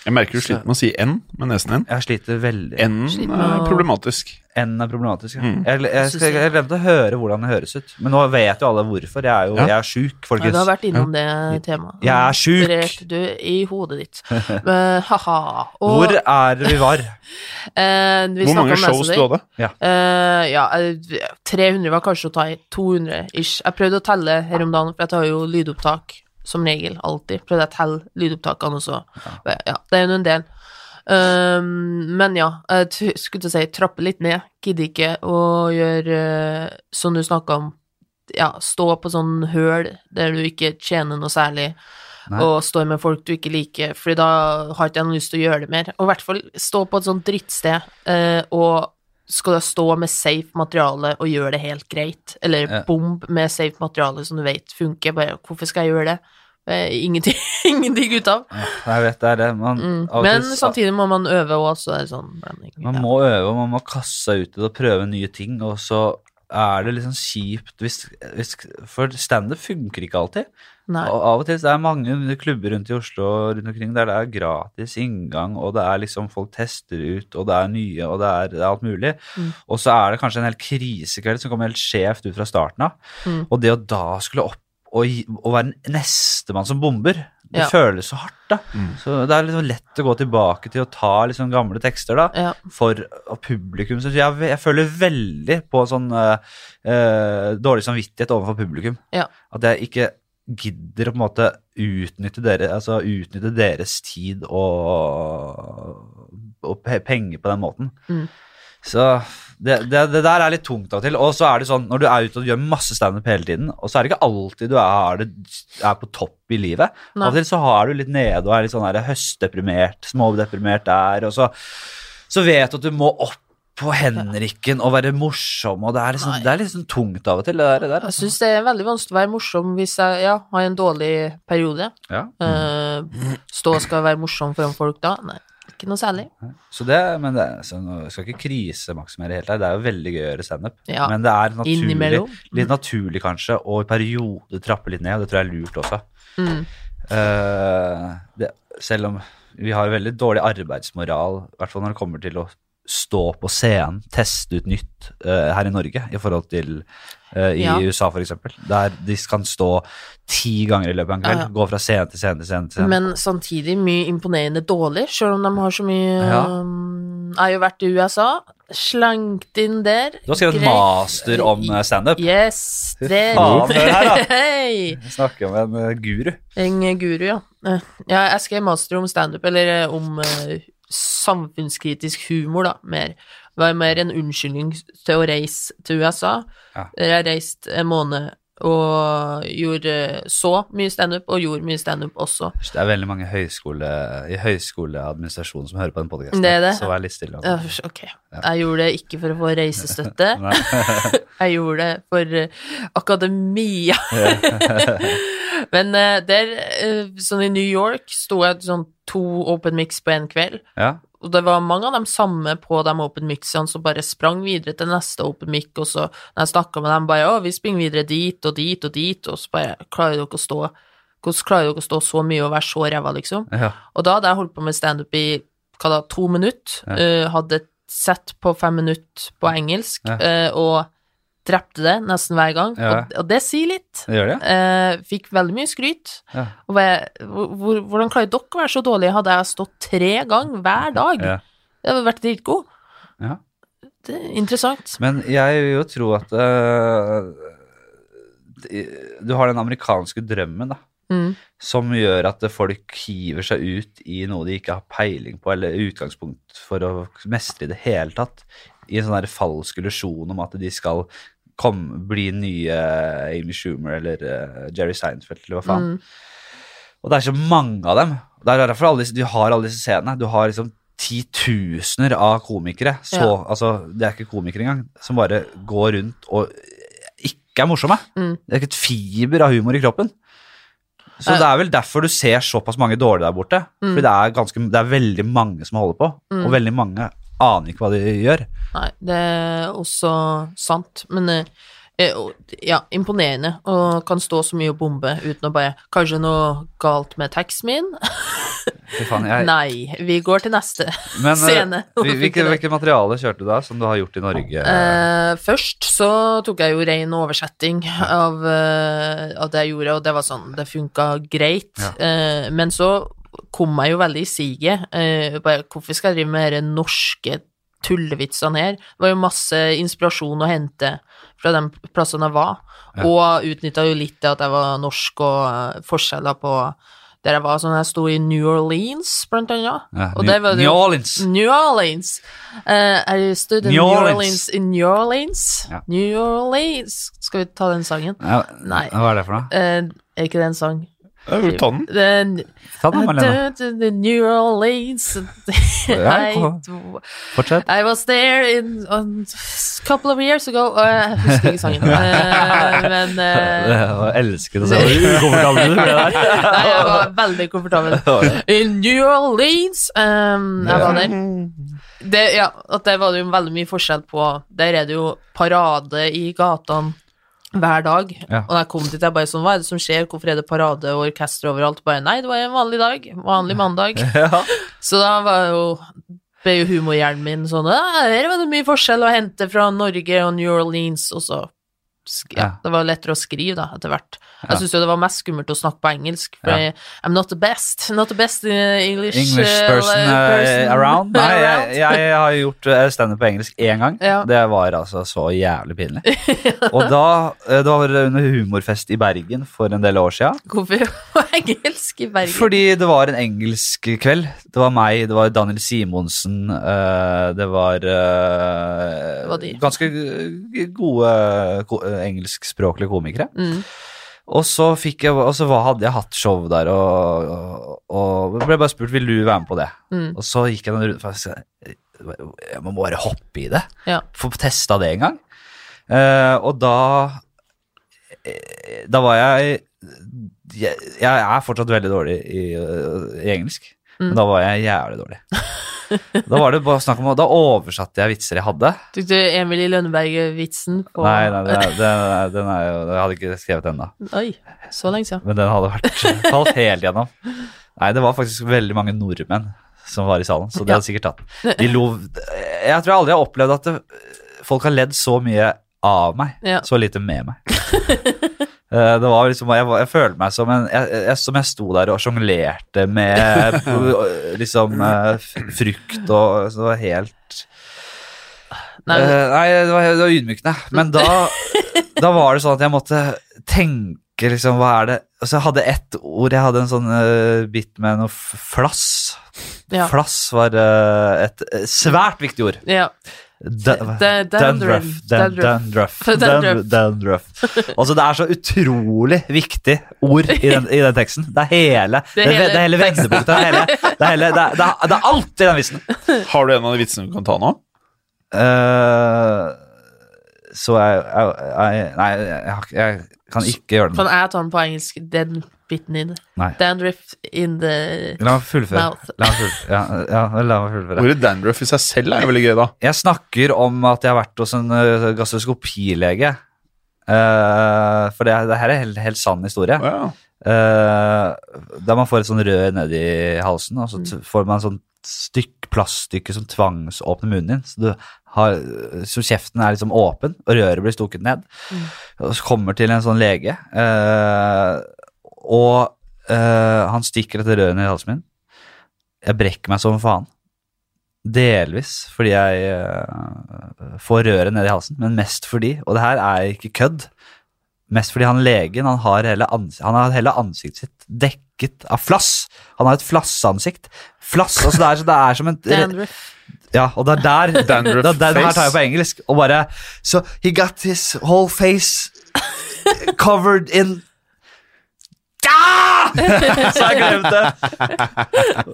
S3: Jeg merker du sliter med å si N med nesen din.
S1: Jeg sliter veldig.
S2: Sliter
S3: N
S2: med
S3: er
S2: å-
S3: problematisk.
S1: N er problematisk. Ja.
S3: Mm.
S1: Jeg, jeg,
S2: Synes
S1: jeg,
S2: jeg.
S1: jeg glemte å høre hvordan det høres ut. Men nå vet jo alle hvorfor. Jeg er jo
S3: Ja.
S1: jeg er sjuk,
S2: Nei,
S1: folkens.
S2: du har vært innom det temaet.
S1: Jeg er sjuk!
S2: Opererte Du i hodet ditt. Men, haha. Og,
S1: Hvor er det vi var?
S2: eh, vi
S3: Hvor
S2: snakket
S3: mange
S2: om
S3: shows
S2: Mesody.
S3: du hadde?
S2: Eh, ja, eh, 300 var kanskje å ta i. 200 ish. Jeg prøvde å telle her om dagen, for jeg tar jo lydopptak som regel. Alltid. Prøvde jeg å telle lydopptakene også. Ja, det er jo en del. Um, men ja, jeg t- skulle til å si trappe litt ned. Gidder ikke å gjøre eh, som du snakka om. Ja, stå på sånn høl der du ikke tjener noe særlig,
S1: Nei.
S2: og står med folk du ikke liker, Fordi da har ikke jeg noe lyst til å gjøre det mer. Og i hvert fall stå på et sånt drittsted, eh, og skal da stå med safe materiale og gjøre det helt greit. Eller
S1: Ja.
S2: bomb med safe materiale som du vet funker. Bare, hvorfor skal jeg gjøre det? Eh, Ingenting, ingenting ut av.
S1: Ja, Jeg vet det er det. Man,
S2: Mm.
S1: av og
S2: Men
S1: til-
S2: samtidig må man øve òg, så er det sånn blanding.
S1: Man må øve, og man må kaste seg ut i det og prøve nye ting, og så er det liksom kjipt hvis, hvis For standup funker ikke alltid.
S2: Nei.
S1: Og av og til så er det mange klubber rundt i Oslo og rundt omkring der det er gratis inngang, og det er liksom folk tester ut, og det er nye, og det er, det er alt mulig.
S2: Mm.
S1: Og så er det kanskje en hel krisekveld som kommer helt skjevt ut fra starten av.
S2: Mm.
S1: Og det å da skulle opp og, gi- og være den nestemann som bomber, det
S2: Ja.
S1: føles så hardt, da.
S3: Mm.
S1: Så det er liksom lett å gå tilbake til å ta liksom gamle tekster, da
S2: Ja.
S1: for publikum. Så jeg, jeg føler veldig på sånn eh, eh, dårlig samvittighet overfor publikum.
S2: Ja.
S1: At jeg ikke gidder å på en måte utnytte, dere, altså utnytte deres tid og, og pe- penger på den måten.
S2: Mm.
S1: Så det, det, det der er litt tungt av og til. Og så er det sånn, når du er ute og gjør masse standup hele tiden, og så er det ikke alltid du er, det- er på topp i livet.
S2: Nei.
S1: Av og til så har du litt nede og er litt sånn der høstdeprimert, smådeprimert der, og så, så vet du at du må opp på Henriken og være morsom, og det er liksom,
S2: Nei.
S1: det er liksom tungt av og til, det der. Det der. altså.
S2: Jeg syns det er veldig vanskelig å være morsom hvis jeg ja, har en dårlig periode.
S1: Ja.
S2: Eh, stå og skal være morsom foran folk da? Nei, ikke noe særlig.
S1: Så det, men det, så nå skal ikke krisemaksimere helt her, det er jo veldig gøy å gjøre standup.
S2: Ja.
S1: Men det er naturlig,
S2: Innimellom.
S1: litt naturlig kanskje, og i perioder trappe litt ned, og det tror jeg er lurt også.
S2: Mm.
S1: Eh, det, selv om vi har veldig dårlig arbeidsmoral, i hvert fall når det kommer til å stå på scenen, teste ut nytt eh, her i Norge i forhold til eh, i
S2: Ja.
S1: USA f.eks., der de kan stå ti ganger i løpet av en kveld,
S2: Ja, ja.
S1: gå fra scene til scene til scene. til scene.
S2: Men samtidig mye imponerende dårlig, sjøl om de har så mye
S1: Ja.
S2: um, Jeg har jo vært i USA, slengt inn der.
S1: du har skrevet
S2: Greit.
S1: en master om eh, standup.
S2: Yes, det
S1: faen, hør her,
S2: Hei!
S1: Vi Snakker om en eh, guru.
S2: En guru, ja. Eh, ja jeg skrev master om standup, eller eh, om eh, samfunnskritisk humor, da, mer. Det var mer en unnskyldning til å reise til USA.
S1: Ja.
S2: Der jeg reiste en måned og gjorde eh, så mye standup, og gjorde mye standup også.
S1: Det er veldig mange høyskole, i høyskoleadministrasjonen som hører på den podkasten.
S2: Det er det.
S1: Så vær litt stille. altså.
S2: Ja, Ok. Jeg gjorde det ikke for å få reisestøtte.
S1: Nei.
S2: Jeg gjorde det for eh, akademia. Men eh, der, eh, sånn i New York, sto jeg til sånn to open mix på en kveld.
S1: Ja.
S2: Og det var mange av dem samme på de open mixene som bare sprang videre til neste open mic, og så når jeg snakka med dem, bare 'Å, vi springer videre dit og dit og dit', og så bare 'Klarer dere å stå Hvordan klarer dere å stå så mye og være så ræva, liksom?'
S1: Ja.
S2: Og da hadde jeg holdt på med standup i hva da, to minutter.
S1: Ja.
S2: eh, hadde et sett på fem minutter på engelsk,
S1: Ja.
S2: eh, og drepte det nesten hver gang.
S1: Ja.
S2: Og, og det sier litt.
S1: Gjør det?
S2: Eh, fikk veldig mye skryt.
S1: Ja.
S2: Og jeg, hvor, hvor- hvordan klarer dere å være så dårlige? Hadde jeg stått tre ganger hver dag,
S1: Ja.
S2: jeg hadde vært dritgod.
S1: Ja.
S2: Det er interessant.
S1: Men jeg vil jo tro at eh, du har den amerikanske drømmen, da.
S2: Mm.
S1: Som gjør at folk hiver seg ut i noe de ikke har peiling på, eller utgangspunkt for å mestre i det hele tatt. I en sånn der falsk illusjon om at de skal komme, bli nye Amy Schumer eller eh, Jerry Seinfeld eller hva faen.
S2: Mm.
S1: Og det er så mange av dem. Det er derfor alle disse, du har alle disse scenene. Du har liksom titusener av komikere, så,
S2: Ja.
S1: altså, det er ikke komikere engang, som bare går rundt og ikke er morsomme.
S2: Mm.
S1: Det er ikke et fiber av humor i kroppen. Så
S2: Eh.
S1: det er vel derfor du ser såpass mange dårlige der borte.
S2: Mm.
S1: Fordi det er, ganske, det er veldig mange som holder på,
S2: Mm.
S1: og veldig mange aner ikke hva de gjør.
S2: Nei, det er også sant, men eh, eh, og- ja, imponerende, og kan stå så mye og bombe uten å bare Kanskje noe galt med teksten min?
S1: Fy faen, jeg,
S2: Nei, vi går til neste.
S1: Men, eh,
S2: scene.
S1: hvil- Hvilke, hvilke materialer kjørte du da, som du har gjort i Norge?
S2: Eh, først så tok jeg jo ren oversetting av, eh, av det jeg gjorde, og det var sånn, det funka greit.
S1: Ja.
S2: Eh, men så kom jeg jo veldig i siget. Eh, bare, hvorfor skal jeg drive med de norske tullevitsene her? Det var jo masse inspirasjon å hente fra de plassene jeg var,
S1: Ja.
S2: og utnytta jo litt det at jeg var norsk, og eh, forskjeller på der jeg var. Sånn jeg sto i New Orleans, blant annet.
S1: Ja,
S2: og
S1: New,
S2: der var det
S1: New
S2: jo-
S1: Orleans!
S2: New Orleans. Uh, I stood in
S1: New
S2: New
S1: Orleans.
S2: Orleans. in New Orleans.
S1: Ja.
S2: New Orleans. Skal vi ta den sangen?
S1: Ja,
S2: Nei.
S1: Hva er det for noe?
S2: Eh, er ikke det en sang? er
S3: Ja, vi tar den.
S2: Den,
S1: Ta
S2: Eh,
S1: den, Malene.
S2: the New Orleans.
S1: Ja,
S2: I,
S1: Fortsett.
S2: I was there in a couple of years ago. Og jeg husker ikke sangen. Eh, men eh,
S1: Jeg elsker det Uh, så ukomfortabelt det der.
S2: Nei, jeg var veldig komfortabel. In New Orleans. Um, jeg var der. det, ja, at der var det jo veldig mye forskjell på Der er det jo parade i gatene hver dag.
S1: Ja.
S2: Og da jeg kom dit, jeg bare sånn, hva er det som skjer? Hvorfor er det parade og orkester overalt? Bare, nei, det var en vanlig dag. Vanlig mandag.
S1: Ja.
S2: Så da var jo, ble jo humorhjernen min sånn, «Ah, her var det mye forskjell å hente fra Norge og New Orleans, og så sk-
S1: Ja.
S2: ja, det var lettere å skrive da, etter hvert.
S1: Ja.
S2: Jeg synes jo det var mest skummelt å snakke på engelsk, for
S1: Ja.
S2: jeg- I'm not the best, not the best uh, English,
S1: English
S2: uh,
S1: person, eh,
S2: person
S1: around? Nei,
S2: around.
S1: jeg, jeg har gjort eh, standup på engelsk én gang.
S2: Ja.
S1: Det var altså så jævlig pinlig. Og da eh, Det var under humorfest i Bergen for en del år sia.
S2: Hvorfor på engelsk i Bergen?
S1: Fordi det var en engelsk kveld. Det var meg, det var Daniel Simonsen, eh, det var, eh,
S2: Det var de.
S1: ganske eh, gode ko- eh, engelskspråklige komikere.
S2: Mm.
S1: Og så, fikk jeg, og så var, hadde jeg hatt show der, og, og, og ble bare spurt vil du være med på det.
S2: Mm.
S1: Og så gikk jeg noen runder for jeg, sa, jeg må bare hoppe i det.
S2: Ja.
S1: Få testa det en gang. Eh, og da eh, Da var jeg Jeg, jeg er fortsatt veldig dårlig i, eh, i engelsk, men
S2: Mm.
S1: da var jeg jævlig dårlig. da var det bare snakk om, da oversatte jeg vitser jeg hadde.
S2: Tok du Emil i Lønneberg-vitsen på
S1: Nei, nei den, er, den, er, den er jo Jeg hadde ikke skrevet den da.
S2: Oi, så lenge siden.
S1: Men den hadde vært falt helt gjennom. Nei, det var faktisk veldig mange nordmenn som var i salen, så de
S2: Ja.
S1: hadde sikkert tatt. De lo Jeg tror jeg aldri har opplevd at det, folk har ledd så mye av meg,
S2: Ja.
S1: så lite med meg. Eh, Det var liksom, jeg, var- jeg følte meg som en jeg, jeg, Som jeg sto der og sjonglerte med eh, liksom eh, f- frukt og så det var helt
S2: Nei,
S1: Eh, nei, det var, det var ydmykende. Men da, da var det sånn at jeg måtte tenke liksom, hva er det Altså, jeg hadde ett ord. Jeg hadde en sånn eh, bit med noe f- flass.
S2: Ja.
S1: Flass var eh, et eh, svært viktig ord.
S2: ja.
S1: Da-
S2: da-
S1: Dandruff.
S2: dandruff,
S1: Dan- Dandruff.
S2: dandruff.
S1: Dan- Dandruff. Altså, det er så utrolig viktig ord i den, i den teksten. Det er hele Det
S2: Det er
S1: er,
S2: hele
S1: det er hele vendepunktet. Det er, hele, det, er hele, det, er, det, er, det er alt i den vitsen.
S3: Har du en av de vitsene du kan ta nå?
S1: Eh, så jeg, jeg, jeg Nei, jeg, har ikke- jeg kan ikke gjøre
S2: Kan
S1: det.
S2: jeg ta den på engelsk, den biten i det?
S1: Nei.
S2: Dandruff in the
S1: La meg fullføre.
S2: Mouth.
S1: La meg fullføre. Ja, ja, la meg fullføre.
S3: Ordet dandruff i seg selv er jo veldig gøy, da.
S1: Jeg snakker om at jeg har vært hos en ø, gastroskopilege. Eh, for det, det her er helt, helt sann historie.
S3: Å, ja.
S1: Eh, der man får et sånn rør nedi halsen, og så t får man sånn stykk plaststykke som tvangsåpner munnen din. Så, du har, så kjeften er liksom åpen, og røret blir stukket ned. Og så kommer til en sånn lege, eh, og eh, han stikker dette røret ned i halsen min. Jeg brekker meg som faen. Delvis fordi jeg eh, får røret ned i halsen, men mest fordi, og det her er ikke kødd, Mest fordi han legen han har, hele ans han har hele ansiktet sitt dekket av flass. Han har et flasseansikt. Flass, altså det er, så det er som en
S2: Dandruff.
S1: Ja, og det er der
S3: Dandruff
S1: da, Den her
S3: face.
S1: tar jeg på engelsk. Og bare So he got his whole face covered in Ah! Så jeg glemte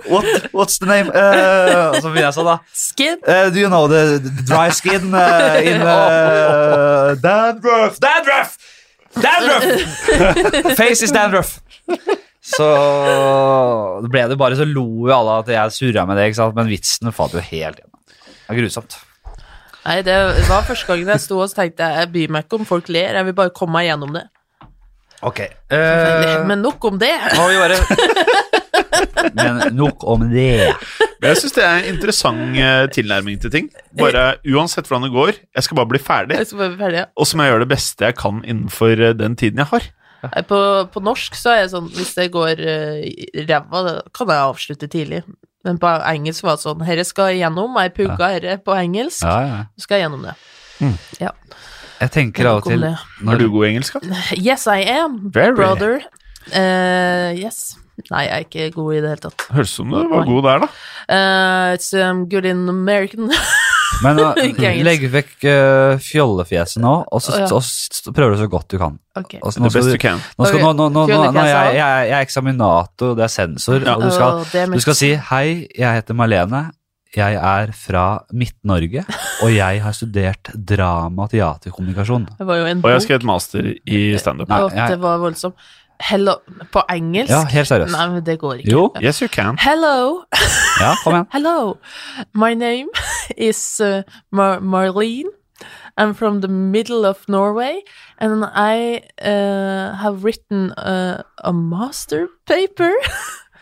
S1: What, What's the name? Eh, og så begynner jeg sånn, da.
S2: Skin.
S1: Eh, do you know the, the dry skin uh, in uh, dandruff? Dandruff! Dandruff! Face is dandruff. Så det ble det bare så lo jo alle at jeg surra med det, ikke sant? men vitsen falt jo helt gjennom. Det er grusomt.
S2: Nei, det var første gangen jeg sto og så tenkte jeg, jeg bryr meg ikke om folk ler, jeg vil bare komme meg gjennom det.
S1: Ok. Uh,
S2: Men nok om det.
S1: må vi bare Men nok om det.
S3: Men jeg syns det er en interessant eh, tilnærming til ting. Bare Uansett hvordan det går, jeg skal bare bli ferdig.
S2: Jeg skal bare være ferdig.
S3: Og så må jeg gjøre det beste jeg kan innenfor eh, den tiden jeg har.
S2: Nei, På, Eh, på norsk så er jeg sånn, hvis det går eh, i ræva, da kan jeg avslutte tidlig. Men på engelsk var det sånn, herre skal jeg gjennom, jeg pugga herre på engelsk,
S1: Ja, Mm. ja.
S2: så skal jeg gjennom det. Ja.
S1: Jeg tenker av og
S2: Nok om
S1: til
S2: det.
S3: Er
S1: når,
S3: du god i engelsk, da?
S2: Yes, I am,
S3: Very.
S2: brother. Eh, yes. Nei, jeg er ikke god i det hele tatt.
S3: Høres ut som du var god der, da.
S2: Eh, it's um, good in American.
S1: Men uh,
S2: Ikke engelsk.
S1: legg vekk eh, fjollefjeset nå, og så,
S2: Å, ja.
S1: og så prøver du så godt du kan.
S2: Ok.
S1: Og så nå
S3: The
S1: skal
S3: best
S1: du-
S3: you can.
S1: Nå, skal,
S2: Ok,
S1: nå, nå, nå, nå,
S2: Fjollekresa.
S1: nå jeg, jeg, jeg er eksaminator, det er sensor,
S3: Ja.
S1: og du skal,
S2: Åh, det er
S1: du
S2: mitt-
S1: skal si hei, jeg heter Malene, jeg er fra Midt-Norge, og jeg har studert drama og teaterkommunikasjon.
S2: Det var jo en
S3: Og
S2: bok.
S3: jeg skrev et master i standup.
S1: Nei,
S2: Åh,
S1: jeg-
S2: Det var voldsomt. Hello På engelsk?
S1: Ja, helt seriøst.
S2: Nei, men det går ikke.
S1: Jo,
S3: Yes, you can.
S2: Hello,
S1: ja, kom igjen.
S2: hello. My name is uh, Mar Marlene. I'm from the middle of Norway, and I uh, have written uh, a master paper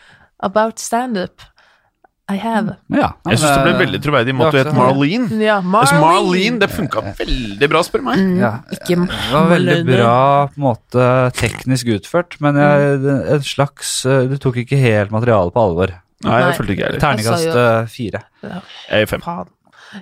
S2: about stand-up. I have.
S1: Ja, nei,
S3: Jeg syns det ble
S1: men,
S3: veldig troverdig i måte
S1: Ja,
S3: du het
S1: så- Mm.
S3: Marlene.
S2: Ja,
S3: Altså,
S2: Marlene.
S3: Marlene, det funka veldig bra, spør du meg.
S2: Mm,
S1: Ja,
S2: ikke
S1: Det var veldig
S2: Marlene.
S1: bra på en måte teknisk utført, men
S2: Mm.
S1: jeg, en slags eh, Du tok ikke helt materialet på alvor.
S3: Nei,
S2: Nei.
S3: det fulgte ikke jeg heller.
S1: Terningkast
S2: Jeg
S1: eh, fire.
S3: Jeg er fem.
S2: Faen.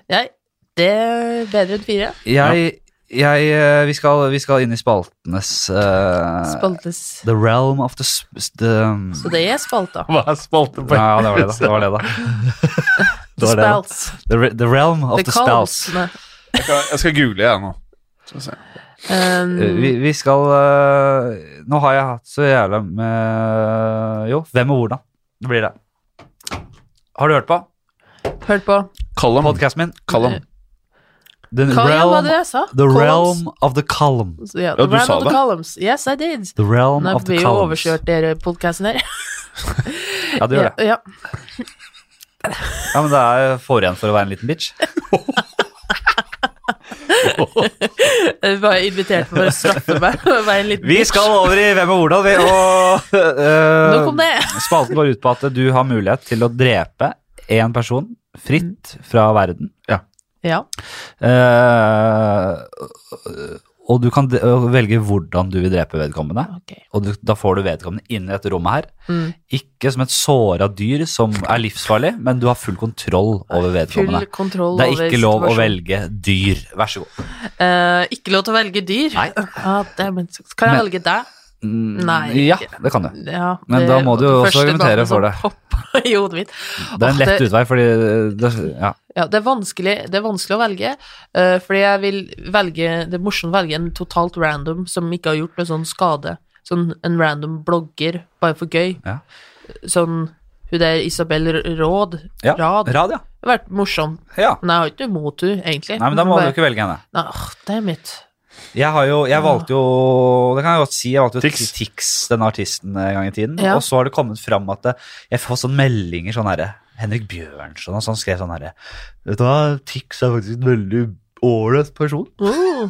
S2: Jeg, det er bedre enn fire.
S1: Jeg, jeg eh, vi, skal, vi skal inn i spaltenes eh,
S2: Spaltes.
S1: The realm of the, sp- the um,
S2: Så det er spalta.
S3: Hva er spalte på
S1: Ja, det var det, da. Det var det, da. Det var det, da.
S2: Spalts.
S1: The, re- the realm of
S2: Det
S1: the
S2: kalles.
S1: spouse.
S2: Nei.
S3: Jeg skal, jeg skal google, jeg, nå. Skal vi se.
S2: Um,
S1: Eh, Vi, vi skal eh, Nå har jeg hatt så jævla med Jo, hvem og hvordan. Det blir det. Har du hørt på
S2: Hørt på.
S3: Callum.
S1: podkasten min?
S3: Callum.
S1: The
S2: Hva ja, hva
S1: realm,
S2: var det jeg sa?
S1: the
S2: Columns.
S1: realm of the column.
S2: Ja,
S3: Ja,
S2: the
S3: du
S2: realm
S3: sa
S2: of the
S3: det.
S2: columns. Yes, I did.
S1: The realm
S2: Nei,
S1: of the
S2: blir jo
S1: columns.
S2: overkjørt, dere podkasten her.
S1: Ja, det gjør det.
S2: Ja, ja.
S1: Ja, men det er får igjen for å være en liten bitch.
S2: Jeg var invitert for å straffe meg. og være en liten
S1: Vi
S2: bitch.
S1: skal over i hvem og hvordan, vi. Og eh,
S2: Nok om det.
S1: spalten går ut på at du har mulighet til å drepe én person fritt fra verden.
S2: Ja.
S1: Eh, og du kan de- og velge hvordan du vil drepe vedkommende.
S2: Ok.
S1: Og du, da får du vedkommende inn i dette rommet her.
S2: Mm.
S1: Ikke som et såra dyr som er livsfarlig, men du har full kontroll over
S2: Full
S1: vedkommende.
S2: kontroll
S1: Sånn Det er
S2: over
S1: ikke lov å
S2: situasjonen.
S1: velge dyr. Vær så god.
S2: Eh, ikke lov til å velge dyr?
S1: Nei.
S2: Ah, dæven. kan jeg
S1: Men-
S2: velge deg?
S1: Mm,
S2: Nei.
S1: Ja, det kan du.
S2: Ja,
S1: Men
S2: det
S1: da må
S2: var
S1: du jo
S2: det
S1: også
S2: første
S1: argumentere
S2: navnet
S1: for
S2: som
S1: det.
S2: poppet i hodet mitt.
S1: Det er en
S2: Åh,
S1: lett
S2: det-
S1: utvei, fordi eh, det, ja.
S2: Ja, det er vanskelig, det er vanskelig å velge, eh, fordi jeg vil velge Det er morsomt å velge en totalt random som ikke har gjort noe sånn skade. Sånn en random blogger, bare for gøy.
S1: Ja.
S2: Sånn hun der Isabel R- Råd.
S1: ja.
S2: Rad. Det
S1: Rad, ja.
S2: har vært morsom.
S1: ja.
S2: Men jeg har ikke noe imot henne, egentlig.
S1: Nei, men da må
S2: Bare-
S1: du ikke velge henne.
S2: Nei, åh, det er mitt.
S1: Jeg, har jo, jeg valgte jo Det kan jeg godt si. Jeg valgte jo
S3: Tix.
S1: Tix, den artisten, eh, en gang i tiden.
S2: Ja.
S1: Og så har det kommet fram at det, jeg får sånne meldinger sånn herre Henrik Bjørnson og sånn skrev sånn herre Vet du hva, Tix er faktisk en veldig ålreit person.
S2: Uh,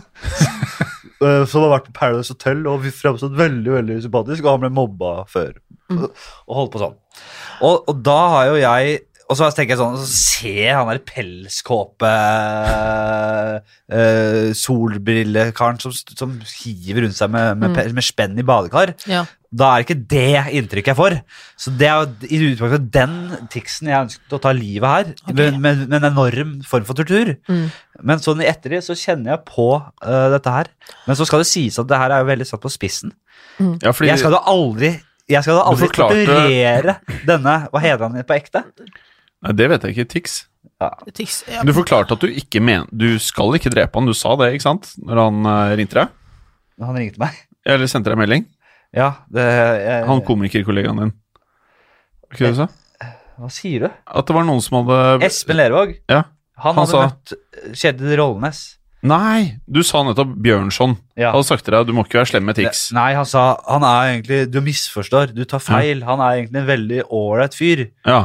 S1: eh, Som har vært på Paradise Hotel og fremstått veldig veldig sympatisk, og han ble mobba før. Og holdt på sånn. Og, og da har jo jeg og så tenker jeg sånn, så ser jeg han der pelskåpe eh, solbrillekaren som, som hiver rundt seg med, med, pe- med spenn i badekar.
S2: ja.
S1: Da er det ikke det inntrykket jeg får. Så det er jo i utgangspunktet den tiksen jeg ønsket å ta livet her,
S2: Ok.
S1: med, med, med en enorm form for tortur.
S2: Mm.
S1: Men sånn i ettertid så kjenner jeg på eh, dette her. Men så skal det sies at det her er jo veldig satt på spissen.
S3: Ja, fordi
S1: Jeg skal jo aldri jeg skal da
S3: Du
S1: aldri
S3: forklarte-
S1: torturere denne Hva heter han på ekte?
S3: Nei, det vet jeg ikke. Tix.
S2: Tix, ja.
S3: Du forklarte at du ikke men... Du skal ikke drepe han, du sa det, ikke sant? Når han eh, ringte deg?
S1: Han ringte meg.
S3: Eller sendte deg melding?
S1: Ja, det jeg,
S3: Han komikerkollegaen din. Var ikke det du sa?
S1: Hva sier du?
S3: At det var noen som hadde
S1: Espen Lervåg.
S3: Ja.
S1: Han,
S3: Han
S1: hadde
S3: sa-
S1: møtt Kjetil Rollenes.
S3: Nei, du sa nettopp Bjørnson.
S1: Ja.
S3: Han hadde sagt til deg du må ikke være slem med Tix.
S1: Nei, han sa han er egentlig Du misforstår, du tar feil. Han er egentlig en veldig ålreit fyr.
S3: Ja.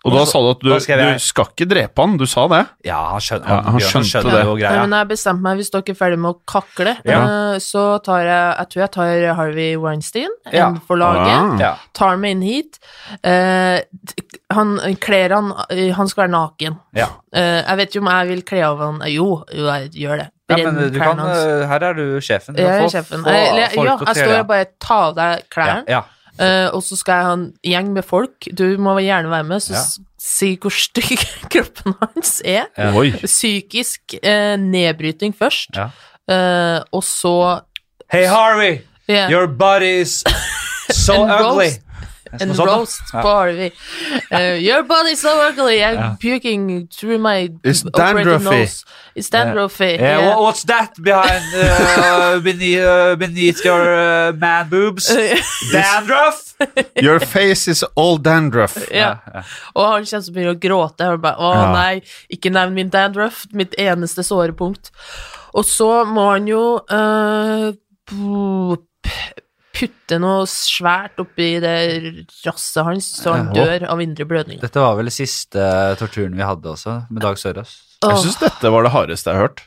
S3: Og da
S1: Og så-
S3: sa du at du,
S1: da skrev jeg-
S3: du skal ikke drepe han, du sa det.
S1: Ja, han, skjøn,
S3: Ja, han
S1: Bjørnson
S3: skjønte
S1: skjønner
S3: det.
S1: jo
S2: Nei,
S1: greia.
S2: men jeg bestemte meg, hvis dere er ferdig med å kakle,
S1: Ja.
S2: eh, så tar jeg Jeg tror jeg tar Harvey Weinstein
S1: Ja.
S2: en for laget.
S3: Ah.
S1: Ja.
S2: tar meg inn hit. Eh, t- han kler han eh, Han skal være naken.
S1: Ja.
S2: Eh, jeg vet jo om jeg vil kle av han eh, Jo, jo jeg gjør det.
S1: Ja,
S2: Brenn
S1: men du
S2: klærne
S1: kan,
S2: hans.
S1: eh, her er du sjefen. Du
S2: Jeg
S1: får-
S2: er sjefen.
S1: få
S2: Eh, eller,
S1: folk
S2: ja,
S1: til å
S2: jeg
S1: tre
S2: står
S1: deg.
S2: og bare ta av deg klærne,
S1: ja, ja.
S2: eh, og så skal jeg ha en gjeng med folk. Du må gjerne være med, så
S1: Ja.
S2: s- si hvor stygg kroppen hans er.
S1: Ja.
S3: Oi.
S2: Psykisk eh, nedbryting først,
S1: Ja.
S2: eh, og så
S1: Hey Harvey,
S2: Ja.
S1: your body is so
S2: And
S1: ugly.
S2: roast.
S1: Sånn,
S2: And roast på Harvey. Uh, your body's so ugly. I'm
S1: Ja.
S2: puking through my
S3: It's
S2: operated
S3: dandruffy.
S2: nose. It's dandruffy.
S1: Yeah,
S2: yeah.
S1: wha- what's that behind uh, beneath, uh, beneath your uh, man boobs? Dandruff?
S3: Your face is all dandruff.
S2: Ja. Og han kjenner som begynner å gråte. Og bare, å
S1: Ja.
S2: nei, ikke nevn min dandruff, mitt eneste sårepunkt. Og så må han jo eh, p- p- putte noe svært oppi det rasset hans, så han
S1: Ja.
S2: dør av indre blødninger.
S1: Dette var vel siste torturen vi eh, hadde også, med Dag Sørås.
S3: Jeg syns dette var det hardeste jeg har hørt.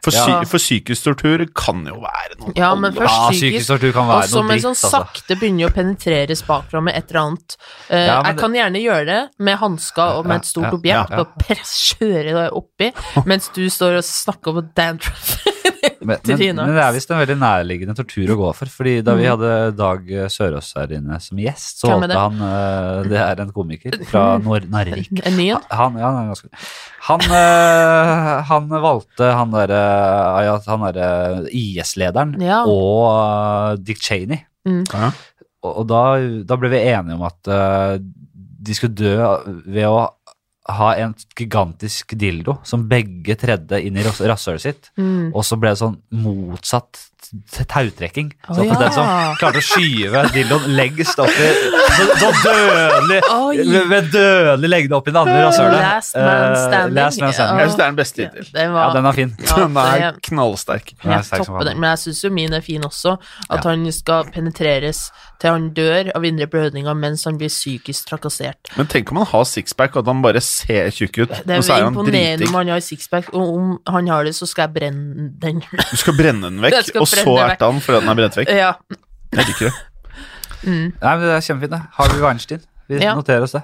S3: For,
S1: Ja.
S3: sy for psykisk tortur kan jo være noe
S2: Ja, men
S3: alvorlig.
S2: først
S1: Ja,
S2: psykisk,
S1: psykisk tortur kan være
S2: og så
S1: noe
S2: men
S1: dritt,
S2: sånn
S1: altså.
S2: sakte begynner å penetreres bakfra med et eller annet. Eh,
S1: Ja, men
S2: jeg kan gjerne gjøre det med hansker og med et stort
S1: Ja, ja,
S2: objekt,
S1: ja.
S2: og press kjøre det oppi, mens du står og snakker på dandruff.
S1: Men,
S2: til
S1: men,
S2: Tina.
S1: men det er visst en veldig nærliggende tortur å gå for. Fordi da vi hadde Dag eh, Sørås her inne som gjest, så
S2: Mm. Hvem er det?
S1: valgte han eh, Det er en komiker fra Nor Narvik.
S2: En ny en?
S1: Han, ja, han, er ganske, han, eh, han valgte han derre ja, han derre IS-lederen
S2: Ja.
S1: og eh, Dick Cheney.
S2: Mm.
S3: Ja.
S1: Og, og da, da ble vi enige om at eh, de skulle dø ved å ha en gigantisk dildo som begge tredde inn i rass- rasshølet sitt.
S2: Mm.
S1: Og så ble det sånn motsatt t- tautrekking.
S2: Å,
S1: Så at
S2: ja.
S1: den som klarte å skyve dildoen lengst opp i Så, så dødelig
S2: Oi.
S1: med, med dødelig lengde opp i den andre rasshølet.
S2: Last man
S1: Eh,
S2: standing.
S1: last man standing.
S3: Jeg synes det er den beste hittil.
S2: Den
S1: Ja,
S2: var
S1: den er fin.
S2: ja,
S3: Den er
S2: det-
S3: knallsterk.
S1: Den er
S2: Jeg
S1: sterk som
S2: topper
S1: faen.
S2: den, men jeg syns jo min er fin også. At
S1: Ja.
S2: han skal penetreres til han dør av indre blødninger mens han blir psykisk trakassert.
S3: Men tenk om han har sixpack, og at han bare ser tjukk ut,
S2: Det
S3: og
S2: er
S3: så er han
S2: imponerende
S3: driting.
S2: om han har sixpack, og om han har det, så skal jeg brenne den.
S3: Du skal brenne den
S2: Jeg
S3: vekk,
S2: skal
S3: og så
S2: brenne
S3: erte han fordi den er brent vekk.
S2: ja.
S3: Jeg liker det.
S1: Nei, men det er kjempefint, det. Harvey Weinstein. Vi
S2: Ja.
S1: noterer oss det.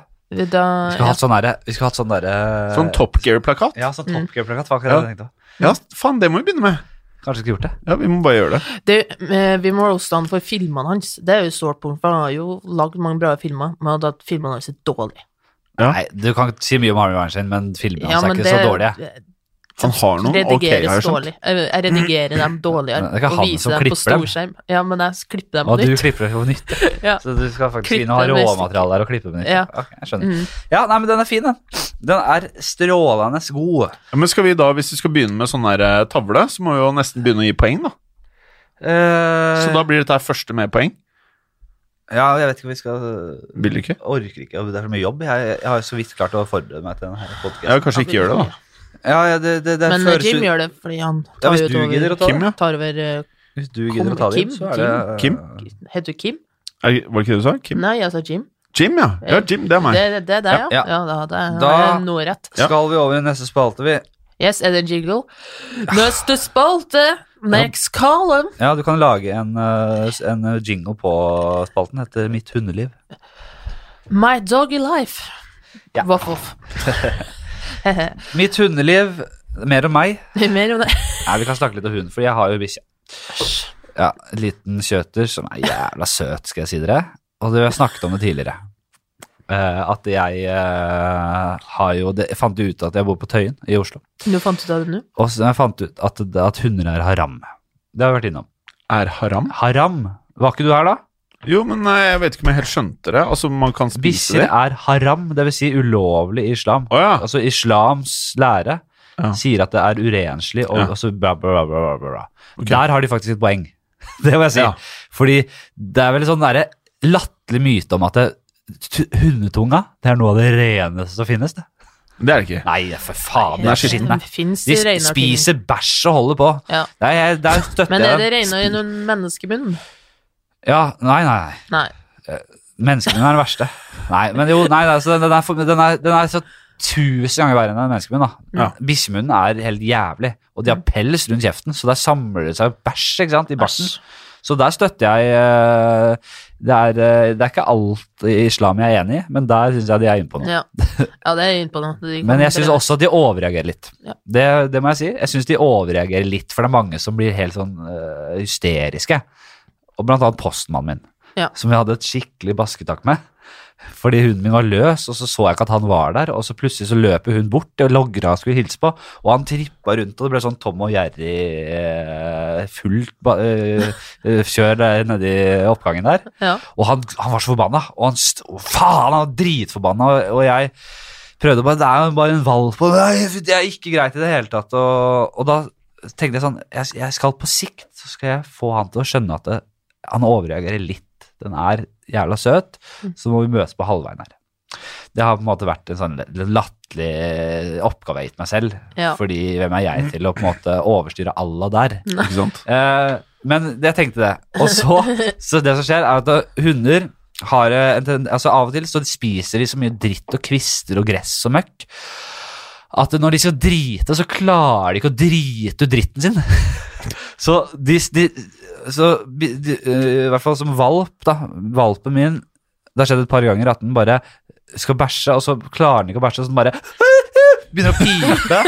S2: Da,
S1: Vi skulle hatt sånn derre Vi skulle hatt sånn derre
S3: Sånn Top Gear-plakat.
S1: Ja, sånn Top Gear-plakat. Hva var det jeg tenkte på?
S3: Ja, faen, det må vi begynne med.
S1: Kanskje skulle gjort det.
S3: Ja, vi må bare gjøre det.
S2: ja. det, eh, vi må roaste han for filmene hans. Det er jo et sårt punkt, for han har jo lagd mange bra filmer, men at filmene hans er dårlige.
S3: Ja.
S1: Nei, du kan ikke si mye om Harvey Weinstein, men filmene hans er ikke så dårlige.
S3: Han har
S1: Mm,
S3: noen ok, sånn. har jeg
S2: eh, Redigeres
S3: skjønt.
S2: dårlig. Jeg jeg redigerer dem
S1: Men
S2: dårligere
S1: det er ikke han
S2: og
S1: som
S2: viser dem på
S1: klipper dem.
S2: storskjerm. Ja, men jeg klipper dem på
S1: Og du
S2: nytt.
S1: klipper det på nytt.
S2: Ja.
S1: Så du skal faktisk
S2: Klippe
S1: inn og ha
S2: den neste.
S1: råmateriale der og klippe på nytt.
S2: Ja. Mm.
S1: Ok, jeg skjønner. Ja, nei, men den er fin, den. Den er strålende god.
S3: Ja, men skal vi da, hvis vi skal begynne med sånn her eh, tavle, så må vi jo nesten begynne å gi poeng, da.
S2: Eh.
S3: Så da blir dette her første med poeng.
S1: Eh, Ja, jeg vet ikke om vi skal
S3: Vil du ikke?
S1: Orker ikke, det er så mye jobb. Jeg, jeg har jo så vidt klart å forberede meg til denne podkasten.
S3: Ja, kanskje ikke gjør det, da.
S1: Ja, ja, det, det, det
S2: Men eh,
S1: føles
S2: Jim
S1: ut
S2: gjør det fordi han
S1: ja,
S2: tar
S1: Hvis
S2: jo
S1: du gidder å ta
S2: over
S3: Kim,
S1: det,
S3: ja.
S2: Tar over eh,
S1: hvis du gidder å ta det,
S2: Kim,
S1: så er det
S3: Kim,
S2: Heter du Kim?
S3: Er, var det ikke det du sa? Kim?
S2: Nei, jeg sa Jim.
S3: Jim, ja. Ja, Jim, det er meg.
S2: Det det- det er deg, ja?
S1: Ja,
S2: Ja,
S1: ja.
S2: da hadde jeg-
S1: Da-
S2: hadde jeg noe rett.
S3: Ja.
S1: Skal vi over i neste spalte, vi?
S2: Yes, er det en jingle? Neste spalte, next column.
S1: Ja, du kan lage en, eh, s- en eh, jingle på spalten etter Mitt hundeliv.
S2: My doggy life.
S1: Ja.
S2: Voff, voff.
S1: Mitt hundeliv, mer om meg.
S2: Mer om det.
S1: Nei, vi kan snakke litt om hunden, for jeg har jo bikkje. Ja, en liten kjøter som er jævla søt, skal jeg si dere. Og det, vi har snakket om det tidligere. Eh, at jeg eh, har jo det, Jeg fant jo ut at jeg bor på Tøyen i Oslo.
S2: Nå fant du ut av det nå?
S1: Og så jeg fant ut at, at hunder er haram. Det har vi vært innom.
S3: Er haram?
S1: Haram. Var ikke du her da?
S3: Jo, men eh, jeg vet ikke om jeg helt skjønte det. Altså, man kan spise
S1: Bikkjer
S3: det.
S1: er haram, dvs. Si ulovlig i islam.
S3: Å ja.
S1: Altså islams lære
S3: Ah. Ja.
S1: sier at det er urenslig, og,
S3: Ja.
S1: og så bla, bla, bla, bla, bla, bla.
S3: Ok.
S1: Der har de faktisk et poeng. Det må jeg si.
S3: Ja.
S1: Fordi det er vel sånn derre latterlig myte om at det, t- hundetunga det er noe av det reneste som finnes. Det.
S3: Det er det ikke.
S1: Nei, for faen, det er skitten, nei.
S2: Fins
S1: De
S2: det reinere ting?
S1: spiser bæsj og holder på.
S2: Ja.
S1: Nei, jeg, der støtter
S2: Men er det
S1: jeg
S2: reinere enn en menneskemunn?
S1: Ja, nei, nei, nei.
S2: Nei.
S1: Menneskene er den verste. Nei, men jo, nei, altså, den, den, er, for- den, er, den er så tusen ganger verre enn en menneskemunn. da.
S3: Ja.
S1: Bikkjemunnen er helt jævlig, og de har pels rundt kjeften, så der samler det seg bæsj ikke sant, i barten.
S2: Æsj.
S1: Så der støtter jeg eh, det er, eh, det er ikke alt i islam jeg er enig i, men der syns jeg de er inne på noe.
S2: Ja. ja, det er jeg inne på nå. De kan
S1: Men jeg syns
S2: brenne.
S1: også at de overreagerer litt.
S2: Ja.
S1: Det, det må jeg si. Jeg syns de overreagerer litt, for det er mange som blir helt sånn øh, hysteriske. Og blant annet postmannen min,
S2: Ja.
S1: som jeg hadde et skikkelig basketak med. Fordi hunden min var løs, og så så jeg ikke at han var der. Og så plutselig så løper hun bort og logrer han skulle hilse på, og han trippa rundt, og det ble sånn Tom og Jerry eh, fullt ba- eh, eh, kjør der nedi oppgangen der.
S2: Ja.
S1: Og han, han var så forbanna. Og han st å, faen, han var dritforbanna. Og, og jeg prøvde bare Det er jo bare en valp. Og nei, det er ikke greit i det hele tatt. Og, og da tenkte jeg sånn jeg, jeg skal på sikt så skal jeg få han til å skjønne at det, han overreagerer litt. Den er jævla søt, så må vi møtes på halvveien her. Det har på en måte vært en sånn l- latterlig oppgave jeg har gitt meg selv.
S2: Ja.
S1: Fordi hvem er jeg til å på en måte overstyre Allah der?
S3: Ikke sant?
S1: Eh, men jeg tenkte det. Og så, så det som skjer, er at da hunder har eh, en tend- altså Av og til så spiser de så mye dritt og kvister og gress og møkk at når de skal drite, så klarer de ikke å drite ut dritten sin. så de, de, så de, de, eh, I hvert fall som valp, da. Valpen min Det har skjedd et par ganger at den bare skal bæsje, og så klarer den ikke å bæsje, og så den bare begynner å pipe.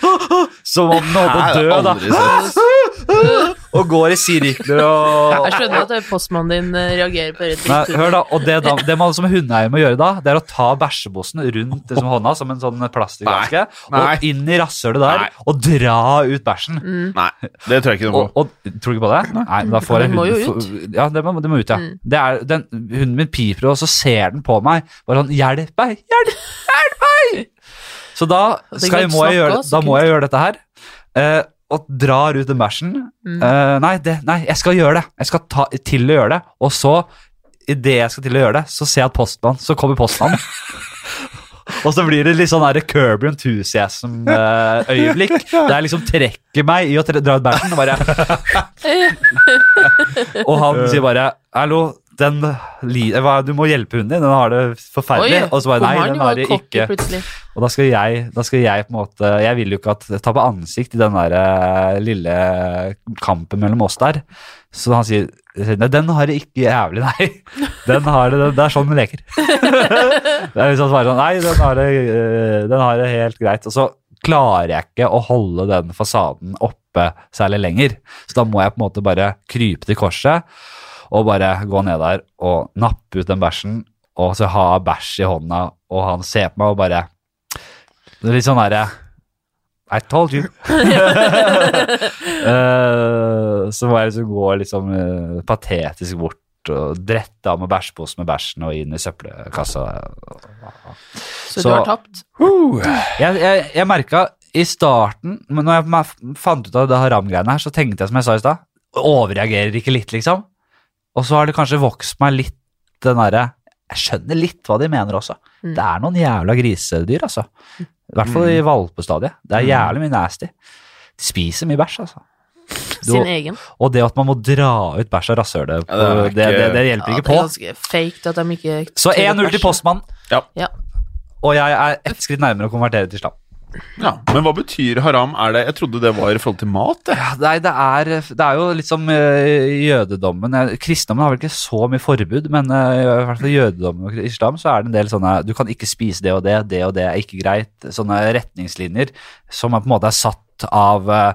S1: som om den holder på å dø,
S3: Nei, det har jeg aldri
S1: da. og går i sirkler og
S2: Jeg skjønner at postmannen din eh, reagerer på dette.
S1: Nei, hør da, og det, da, det man som hundeeier må gjøre da, det er å ta bæsjebossen rundt liksom, hånda som en sånn plastikkhanske,
S3: Nei.
S1: og inn i rasshølet der,
S3: Nei.
S1: og dra ut bæsjen.
S2: Mm.
S3: Nei, det tror jeg ikke noe
S1: Og,
S3: på.
S1: og, tror du ikke på det? Nei, men da får jeg
S2: Den må
S1: hunden
S2: jo Mm.
S1: for- Ja, det må, det må ut, ja. Det er, den, hunden min piper, og så ser den på meg. Bare sånn 'Hjelp meg! Hjelp, hjelp meg!' Så da,
S2: det
S1: skal jeg,
S2: går
S1: må, jeg
S2: snakk
S1: gjøre,
S2: også,
S1: da må jeg gjøre dette her. eh, og drar ut den bæsjen.
S2: Mm.
S1: Eh, nei, det, nei, jeg skal gjøre det. Jeg skal ta, til å gjøre det. Og så, idet jeg skal til å gjøre det, så ser jeg at postmannen Så kommer postmannen. Og så blir det litt sånn der Kirby enthusiasm-øyeblikk. Der jeg liksom trekker meg i å tre dra ut bæsjen. Og, bare, og han sier bare 'hallo, den li hva- du må hjelpe hunden din, den har det forferdelig'. og så bare 'nei, den har det ikke'.
S2: Plutselig.
S1: Og da skal jeg, da skal jeg på en måte Jeg vil jo ikke at tape ansikt i den der eh, lille kampen mellom oss der. Så han sier Nei, den har det ikke jævlig, nei. Den har det, det er sånn den leker. det er liksom bare sånn Nei, den har det, eh, den har det helt greit. Og så klarer jeg ikke å holde den fasaden oppe særlig lenger. Så da må jeg på en måte bare krype til korset og bare gå ned der og nappe ut den bæsjen. Og så ha bæsj i hånda, og han ser på meg og bare det er litt sånn derre I told you. Eh, så må jeg liksom gå liksom eh, patetisk bort og drette av med bæsjposen med bæsjen og inn i søppelkassa.
S2: Så,
S1: Så-
S2: du har tapt.
S1: Jeg, jeg, jeg merka i starten, men når jeg ma- fant ut av det haram-greiene her, så tenkte jeg som jeg sa i stad, overreagerer ikke litt, liksom. Og så har det kanskje vokst meg litt den derre Jeg skjønner litt hva de mener også.
S2: Mm.
S1: Det er noen jævla grisedyr, altså. I hvert fall
S3: Mm.
S1: i valpestadiet. Det er jævlig mye nasty. De spiser mye bæsj, altså.
S2: Sin
S1: Du-
S2: egen.
S1: og det at man må dra ut bæsj av rasshølet,
S3: Ja, det er
S1: på- det,
S3: ikke-
S1: det, det
S2: Ja,
S1: hjelper
S2: det
S1: ikke
S2: er
S1: på.
S2: ganske fake at de ikke
S1: Så 1-0 til postmannen,
S2: Ja.
S1: og jeg er ett skritt nærmere å konvertere til islam.
S3: Ja, men hva betyr haram? Er det, jeg trodde det var i forhold til mat. Jeg.
S1: Ja, Nei, det er, det er jo litt som eh, jødedommen. Eh, Kristendommen har vel ikke så mye forbud, men eh, i hvert fall i jødedommen og islam så er det en del sånne Du kan ikke spise det og det, det og det er ikke greit. Sånne retningslinjer som er på en måte er satt av eh,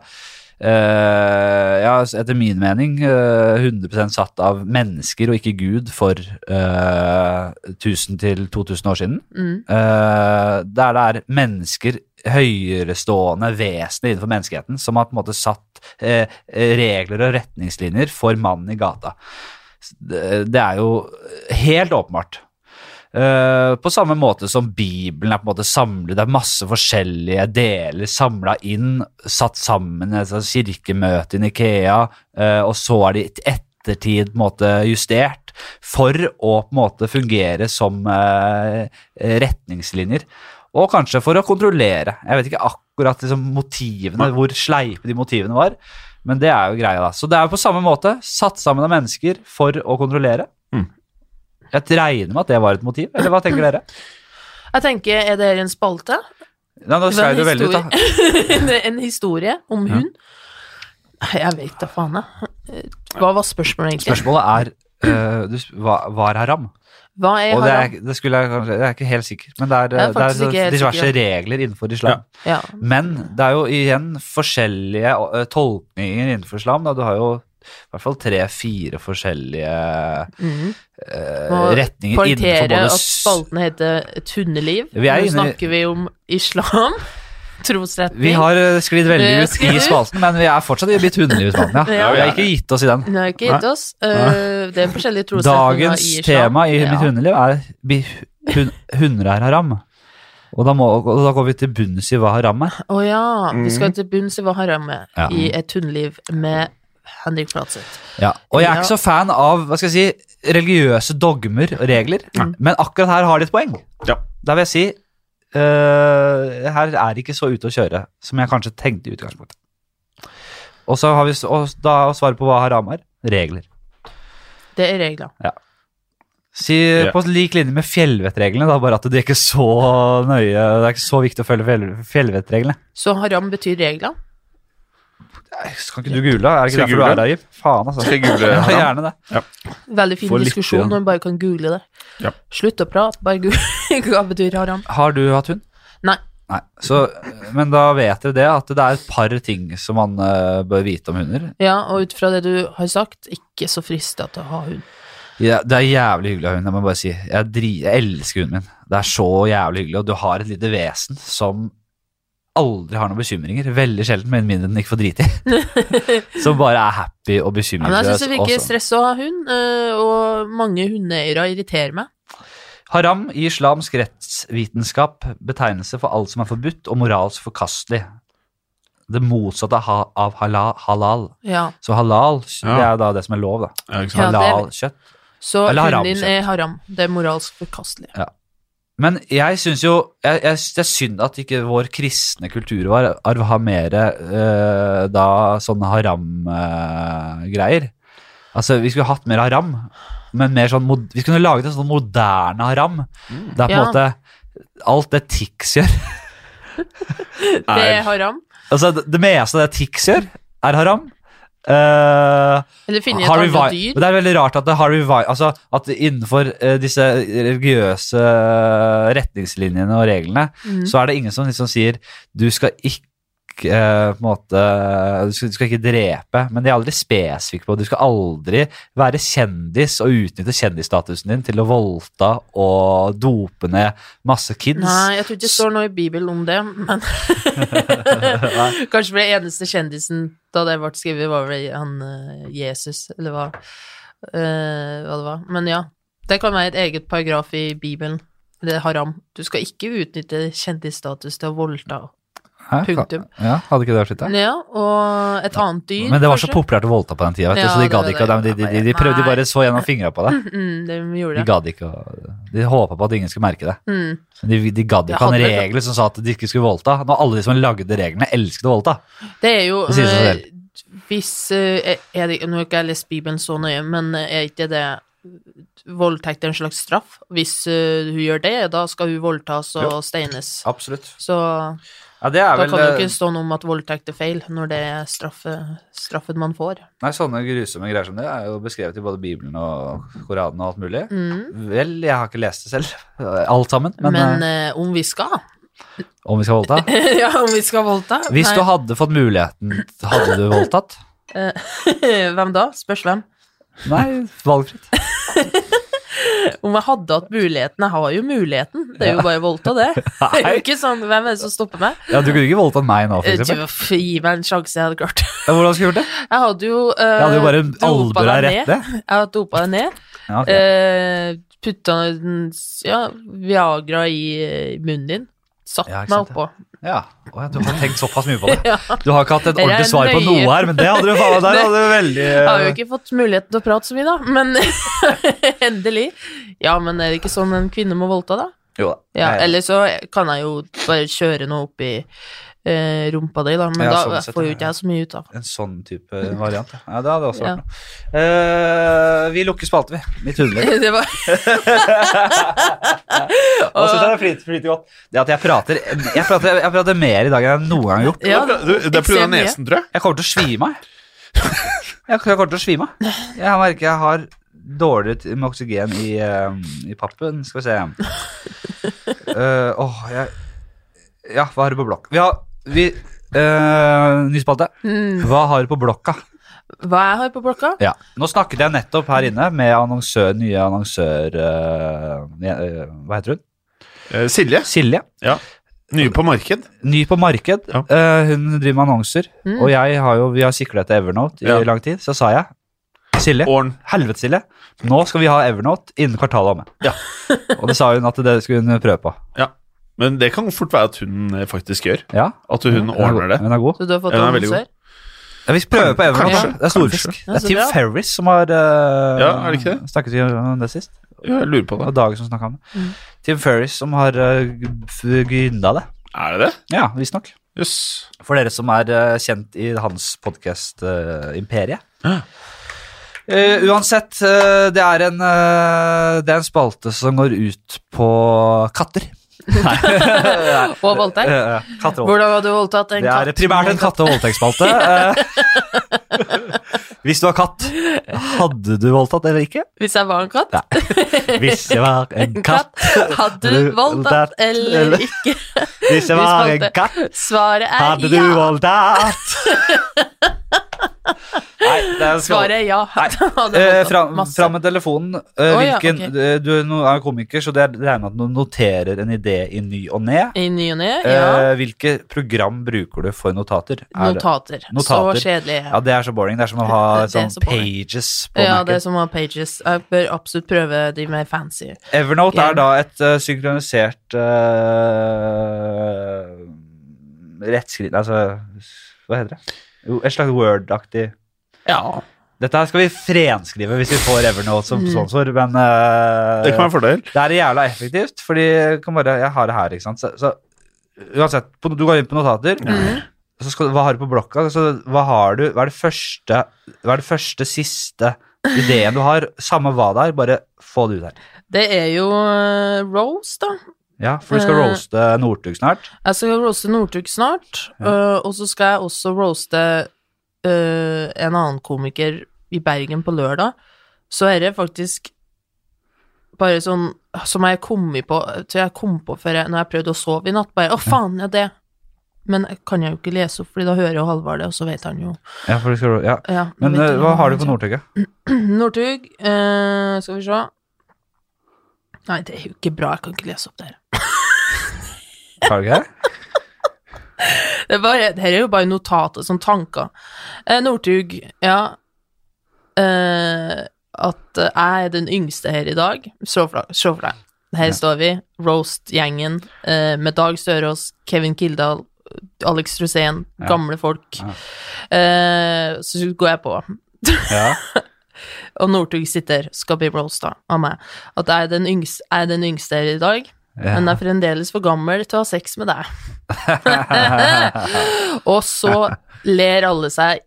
S1: eh, ja, etter min mening eh, 100 satt av mennesker og ikke Gud for eh, 1000 til 2000 år siden.
S2: Mm.
S1: Eh, der det er mennesker, høyerestående vesener innenfor menneskeheten, som har på en måte satt eh, regler og retningslinjer for mannen i gata. S- Det det er jo helt åpenbart. Eh, på samme måte som Bibelen er på en måte samlet, det er masse forskjellige deler samla inn, satt sammen, altså kirkemøte i Ikea, eh, og så er de i ettertid på en måte justert for å på en måte fungere som eh, retningslinjer. Og kanskje for å kontrollere. Jeg vet ikke akkurat liksom, motivene, hvor sleipe de motivene var, men det er jo greia, da. Så det er jo på samme måte, satt sammen av mennesker for å kontrollere. Jeg regner med at det var et motiv, eller hva tenker dere?
S2: Jeg tenker, er det her en spalte?
S1: Nei, nå skrev du veldig ut, da.
S2: da. en historie om hund? Jeg vet da faen, jeg. Hva var spørsmålet, egentlig?
S1: Spørsmålet er øh, du, sp- hva, var haram?
S2: Hva er
S1: Og det er,
S2: haram?
S1: det skulle jeg kanskje Jeg er ikke helt sikker, men det er,
S2: Jeg er
S1: øh, det er
S2: faktisk ikke
S1: så-
S2: helt
S1: diverse
S2: sikker.
S1: regler innenfor islam.
S2: Ja.
S1: Men det er jo igjen forskjellige øh, tolkninger innenfor islam. Da. Du har jo i hvert fall tre-fire forskjellige
S2: Mm.
S1: øh,
S2: Må
S1: retninger innenfor
S2: Poengtere
S1: både
S2: at
S1: s-
S2: spalten heter Et hundeliv.
S1: Vi er
S2: Nå
S1: inne-
S2: snakker vi om islam, trosretning
S1: Vi har øh, sklidd veldig
S2: Øh,
S1: ut
S2: sklidd
S1: i
S2: ut.
S1: spalten, men vi er fortsatt i litt hundelige spalten, ja.
S2: Ja.
S1: Vi har ikke gitt oss i den.
S2: Nei, har ikke gitt oss. Eh, det er forskjellige trosretninger
S1: Dagens
S2: i islam.
S1: tema i mitt
S2: Ja.
S1: hundeliv er bi- hun, hunder er haram. Og da, må, og da går vi til bunns i hva haram er.
S2: Å ja, vi skal til bunns i hva haram er
S1: Mm. Ja.
S2: i et hundeliv med Henrik Flatseth.
S1: Og jeg er ikke så
S2: Ja.
S1: fan av hva skal jeg si, religiøse dogmer og regler, men akkurat her har de et poeng.
S3: Ja.
S1: Da vil jeg si eh, her er det ikke så ute å kjøre som jeg kanskje tenkte i utgangspunktet. Og så har vi s- og da å svare på hva haram er. Regler.
S2: Det er regler.
S1: Si På lik linje med fjellvettreglene, da, bare at det er ikke så nøye Det er ikke så viktig å følge fjell, fjellvettreglene.
S2: Så haram betyr regler.
S1: Skal ikke du google? da? Er det ikke
S3: Skal jeg
S1: derfor du
S3: google?
S1: er der, Jim? Faen, altså.
S3: Skal jeg google
S1: Ja,
S3: haram?
S1: gjerne det.
S2: Veldig fin
S1: Få litt
S2: diskusjon
S1: igjen.
S2: når man bare kan google det.
S3: Ja.
S2: Slutt å prate, bare google hva betyr haram.
S1: Har du hatt hund?
S2: Nei.
S1: Nei. Så, men da vet dere det, at det er et par ting som man eh, bør vite om hunder.
S2: Ja, og ut fra det du har sagt, ikke så frista til å ha hund.
S1: Ja, det er jævlig hyggelig å ha hund, jeg må bare si. Jeg, dri, jeg elsker hunden min. Det er så jævlig hyggelig, og du har et lite vesen som aldri har noen bekymringer. Veldig sjelden, med mindre den ikke får drite i. som bare er happy og
S2: Ja, men jeg syns
S1: bekymringsløs.
S2: det virker
S1: og sånn.
S2: stress å ha hund, eh, og mange hundeeiere irriterer meg.
S1: Haram i islamsk rettsvitenskap betegnelse for alt som er forbudt og moralsk forkastelig. Det motsatte av ha- av hala- halal.
S2: Ja.
S1: Så
S2: Så,
S1: halal,
S3: Ja.
S1: det er da det som er lov, da.
S3: Ja, ikke sant?
S2: Ja, det er-
S1: Halal kjøtt. Eller haram,
S2: hunden din
S1: så.
S2: er haram. Det er moralsk forkastelig.
S1: Men jeg syns jo jeg, jeg, synes Det er synd at ikke vår kristne kulturarv har mer eh, da sånne haram-greier. altså, vi skulle hatt mer haram, men mer sånn mod Vi skulle laget en sånn moderne haram. Det er på en
S2: Ja.
S1: måte Alt det Tix gjør
S2: Det er haram.
S1: Altså, det, det meste av det Tix gjør, er haram. Eh,
S2: Eller finne et
S1: Harvey
S2: annet
S1: Vi-
S2: dyr.
S1: Men det er veldig rart at det Harvey Vi- altså, at innenfor eh, disse religiøse eh, retningslinjene og reglene,
S2: Mm.
S1: så er det ingen som liksom sier du skal ikke eh, på en måte, du skal, du skal ikke drepe, men de er aldri spesifikke på Du skal aldri være kjendis og utnytte kjendisstatusen din til å voldta og dope ned masse kids.
S2: Nei, jeg tror ikke det står noe i Bibelen om det, men
S1: Nei.
S2: Kanskje ble eneste kjendisen da det ble skrevet, var vel han eh, Jesus, eller hva, eh, hva det var. Men ja, det kan være et eget paragraf i Bibelen. Det er haram. Du skal ikke utnytte kjendisstatus til å voldta.
S1: Hæ?
S2: punktum.
S1: Ja, hadde ikke det vært litt, da?
S2: Ja, og et annet dyr,
S1: Men det var så
S2: kanskje?
S1: populært å voldta på den tida, vet du,
S2: Ja,
S1: så de
S2: det
S1: gadd
S2: var
S1: ikke. å-
S2: det.
S1: De, de, de, de prøvde de
S2: Nei.
S1: bare så gjennom fingra på det.
S2: Mm, det gjorde
S1: De
S2: det.
S1: gadd ikke å De håpa på at ingen skulle merke det.
S2: Mm.
S1: Men de, de gadd
S2: Jeg
S1: ikke ha en
S2: hadde-
S1: regel som sa at de ikke skulle voldta. Nå alle de som lagde reglene, elsket å voldta.
S2: Det er jo
S1: Det sier seg
S2: eh, Hvis eh, er det, Nå har ikke jeg lest Bibelen så nøye, men eh, er ikke det voldtekt en slags straff? Hvis eh, hun gjør det, da skal hun voldtas og steines.
S1: Absolutt.
S2: Så
S1: Ja, det er vel eh,
S2: da kan det jo ikke stå noe om at voldtekt er feil, når det er straffe, straffen man får.
S1: Nei, sånne grusomme greier som det er jo beskrevet i både Bibelen og Koranen og alt mulig.
S2: Mm.
S1: Vel, jeg har ikke lest det selv, eh, alt sammen, men,
S2: Men,
S1: eh,
S2: eh, om vi skal
S1: om vi skal voldta
S2: Ja, om vi skal voldta?
S1: Hvis
S2: Nei.
S1: du hadde fått muligheten, hadde du voldtatt?
S2: Hvem da? Spørs hvem.
S1: Nei, valgfritt.
S2: Om jeg hadde hatt muligheten Jeg har jo muligheten. Det er jo bare å voldta, det. Det er jo
S1: Nei.
S2: ikke sånn Hvem er det som stopper meg?
S1: Ja, du kunne ikke voldtatt meg nå, for
S2: Eh,
S1: eksempel.
S2: du, Gi meg en sjanse, jeg hadde klart det.
S1: Ja, hvordan skulle jeg gjort det?
S2: Jeg hadde jo uh,
S1: Jeg hadde jo bare albua rett ned.
S2: Jeg hadde dopa deg ned.
S1: Ja, ok.
S2: Eh, Putta den- ja, Viagra i eh, munnen din. Satt
S1: Ja, ikke
S2: meg
S1: sant,
S2: oppå.
S1: ja. Å, ja, du har tenkt såpass mye på det.
S2: Ja.
S1: Du har ikke hatt et
S2: Dere er
S1: ordentlig svar på
S2: nøye.
S1: noe her, men det hadde du faen meg der. hadde du veldig...
S2: Jeg har jo ikke fått muligheten til å prate så mye, da. Men endelig. Ja, men er det ikke sånn en kvinne må voldta, da?
S1: Jo da.
S2: Ja,
S1: Jeg-
S2: eller så kan jeg jo bare kjøre noe opp i eh, rumpa di, da. Men
S1: Ja,
S2: da
S1: sånn sett,
S2: får jo
S1: ja.
S2: ikke jeg så mye ut av
S1: En sånn type variant. ja. Ja, det hadde også
S2: Ja.
S1: vært noe. Eh, vi lukker spalten, vi. Litt hundelig.
S2: det. Var,
S1: Og så er det flyt, flyter godt. Det at jeg prater, jeg prater Jeg prater mer i dag enn jeg noen gang har gjort.
S2: ja,
S3: Du, det er pga.
S2: ekstremt mye.
S3: nesen, tror jeg.
S1: Jeg kommer til å svime av. Jeg jeg kommer til å svime av. Jeg merker jeg har dårligere t- med oksygen i, eh, i pappen. Skal vi se. Eh, Åh, jeg Ja, hva har du på blokk? Vi har vi, eh, Ny spalte.
S2: Mm.
S1: Hva har du på blokka?
S2: Hva jeg har på blokka?
S1: Ja. Nå snakket jeg nettopp her inne med annonsør, nye annonsør eh, eh, Hva heter hun?
S3: Eh, Silje,
S1: Silje.
S3: nye på marked.
S1: Ny på marked.
S3: Ja.
S1: Eh, hun driver med annonser.
S2: Mm.
S1: Og jeg har jo, vi har sikla etter Evernote i
S3: Ja.
S1: lang tid. Så sa jeg Silje,
S3: Åren.
S1: helvete Silje, nå skal vi ha Evernote innen kvartalet om.
S3: Ja.
S1: og det sa hun at det skulle hun prøve på.
S3: Ja. Men det kan fort være at hun eh, faktisk gjør.
S1: Ja,
S3: At hun ordner
S1: er
S3: det.
S1: god. Hun er god.
S2: Så du har fått
S3: Ja, den er veldig
S2: annonsør?
S1: Ja, vi prøver på Evernote.
S3: Kanskje.
S1: Det er storfisk.
S2: Ja,
S1: Det
S2: så
S1: er Tim
S2: bra.
S1: Ferris som har eh,
S3: Ja, er det ikke det?
S1: snakket om det sist.
S3: Ja, Jeg lurer
S1: Det
S3: på det.
S1: var Dag som snakket om det.
S2: Mm.
S1: Tim Ferris som har uh, grynda det.
S3: Er det det?
S1: Ja, visstnok.
S3: Jøss.
S1: For dere som er eh, kjent i hans podkast-imperie.
S3: Ja.
S1: Eh, uansett, eh, det, er en, eh, det er en spalte som går ut på katter. Nei.
S2: Og voldtekt.
S1: Eh, eh, katter og voldtekt.
S2: Hvordan hadde du voldtatt en
S1: Det
S2: katt?
S1: er primært en katte- og voldtektsspalte. Eh, Hvis du har katt, hadde du voldtatt eller ikke?
S2: Hvis jeg var en katt?
S1: Nei. Hvis jeg var en katt,
S2: Hadde du voldtatt eller
S1: eller-
S2: ikke?
S1: hvis jeg
S2: Vi
S1: var en
S2: spalte.
S1: katt,
S2: Svaret
S1: hadde
S2: er
S1: du
S2: ja.
S1: voldtatt? Nei, det er en spalte.
S2: Svaret er ja. Han hadde
S1: Eh,
S2: voldtatt
S1: fram,
S2: masse.
S1: fram med telefonen. Eh,
S2: Å, ja,
S1: hvilken, eh, Du er no- er komiker, så det er- regner med at du noterer en idé i ny og ne.
S2: I ny og ne, ja.
S1: Eh, hvilke program bruker du for notater? Er det-
S2: Notater.
S1: notater.
S2: Så kjedelig.
S1: Ja, Det er så boring. Det er som å ha
S2: Det- det er
S1: sånn
S2: så boring.
S1: pages på
S2: Ja,
S1: Mac-en.
S2: det er som å ha pages. Jeg bør absolutt prøve de mer fancy.
S1: Evernote
S2: Ja.
S1: er da et eh, synkronisert uh, rettskriv... Altså, hva heter det? Jo, et slags Word-aktig
S3: Ja.
S1: Dette her skal vi frenskrive hvis vi får Evernote som
S2: Mm.
S1: sponsor, men eh,
S3: Det kan være en fordel.
S1: Det er jævla effektivt, fordi jeg, kan bare, jeg har det her, ikke sant. Så, så uansett, på, du går inn på notater, og så skal, du- hva har du på blokka? Så, hva, har du, hva, er det første, hva er det første, siste ideen du har? Samme hva det er, bare få det ut her.
S2: Det er jo eh, Rose, da.
S1: Ja, for du skal
S2: Eh.
S1: roaste Northug snart.
S2: Jeg skal roaste Northug snart, eh, og så skal jeg også roaste eh, en annen komiker i Bergen på lørdag. Så er det faktisk bare sånn som jeg kom på, så jeg kom på før jeg, når jeg prøvde å sove i natt, bare 'Å, faen, ja, det'. Men jeg kan jeg jo ikke lese opp, Fordi da hører jo Halvard det, og så vet han jo
S1: Ja, for du skal, ro- ja.
S2: ja,
S1: Men
S2: vet
S1: eh,
S2: han
S1: hva
S2: jo.
S1: har du på Northug? ja?
S2: Northug, eh, skal vi se Nei, det er jo ikke bra, jeg kan ikke lese opp det her.
S1: Har du ikke det?
S2: Det er bare, det her er jo bare notater, sånn tanker. Eh, Northug, ja. Eh, at eh, jeg er den yngste her i dag. Se for deg- se for deg. Her står vi, roast-gjengen, eh, med Dag Sørås, Kevin Kildahl, Alex Rosén,
S1: Ja.
S2: gamle folk.
S1: Ja.
S2: Eh, så går jeg på,
S1: Ja.
S2: og Northug sitter, skal bli roasta av meg. At jeg er den yngste, jeg er den yngste her i dag, men
S1: ja.
S2: er fremdeles for gammel til å ha sex med deg. Og så ler alle seg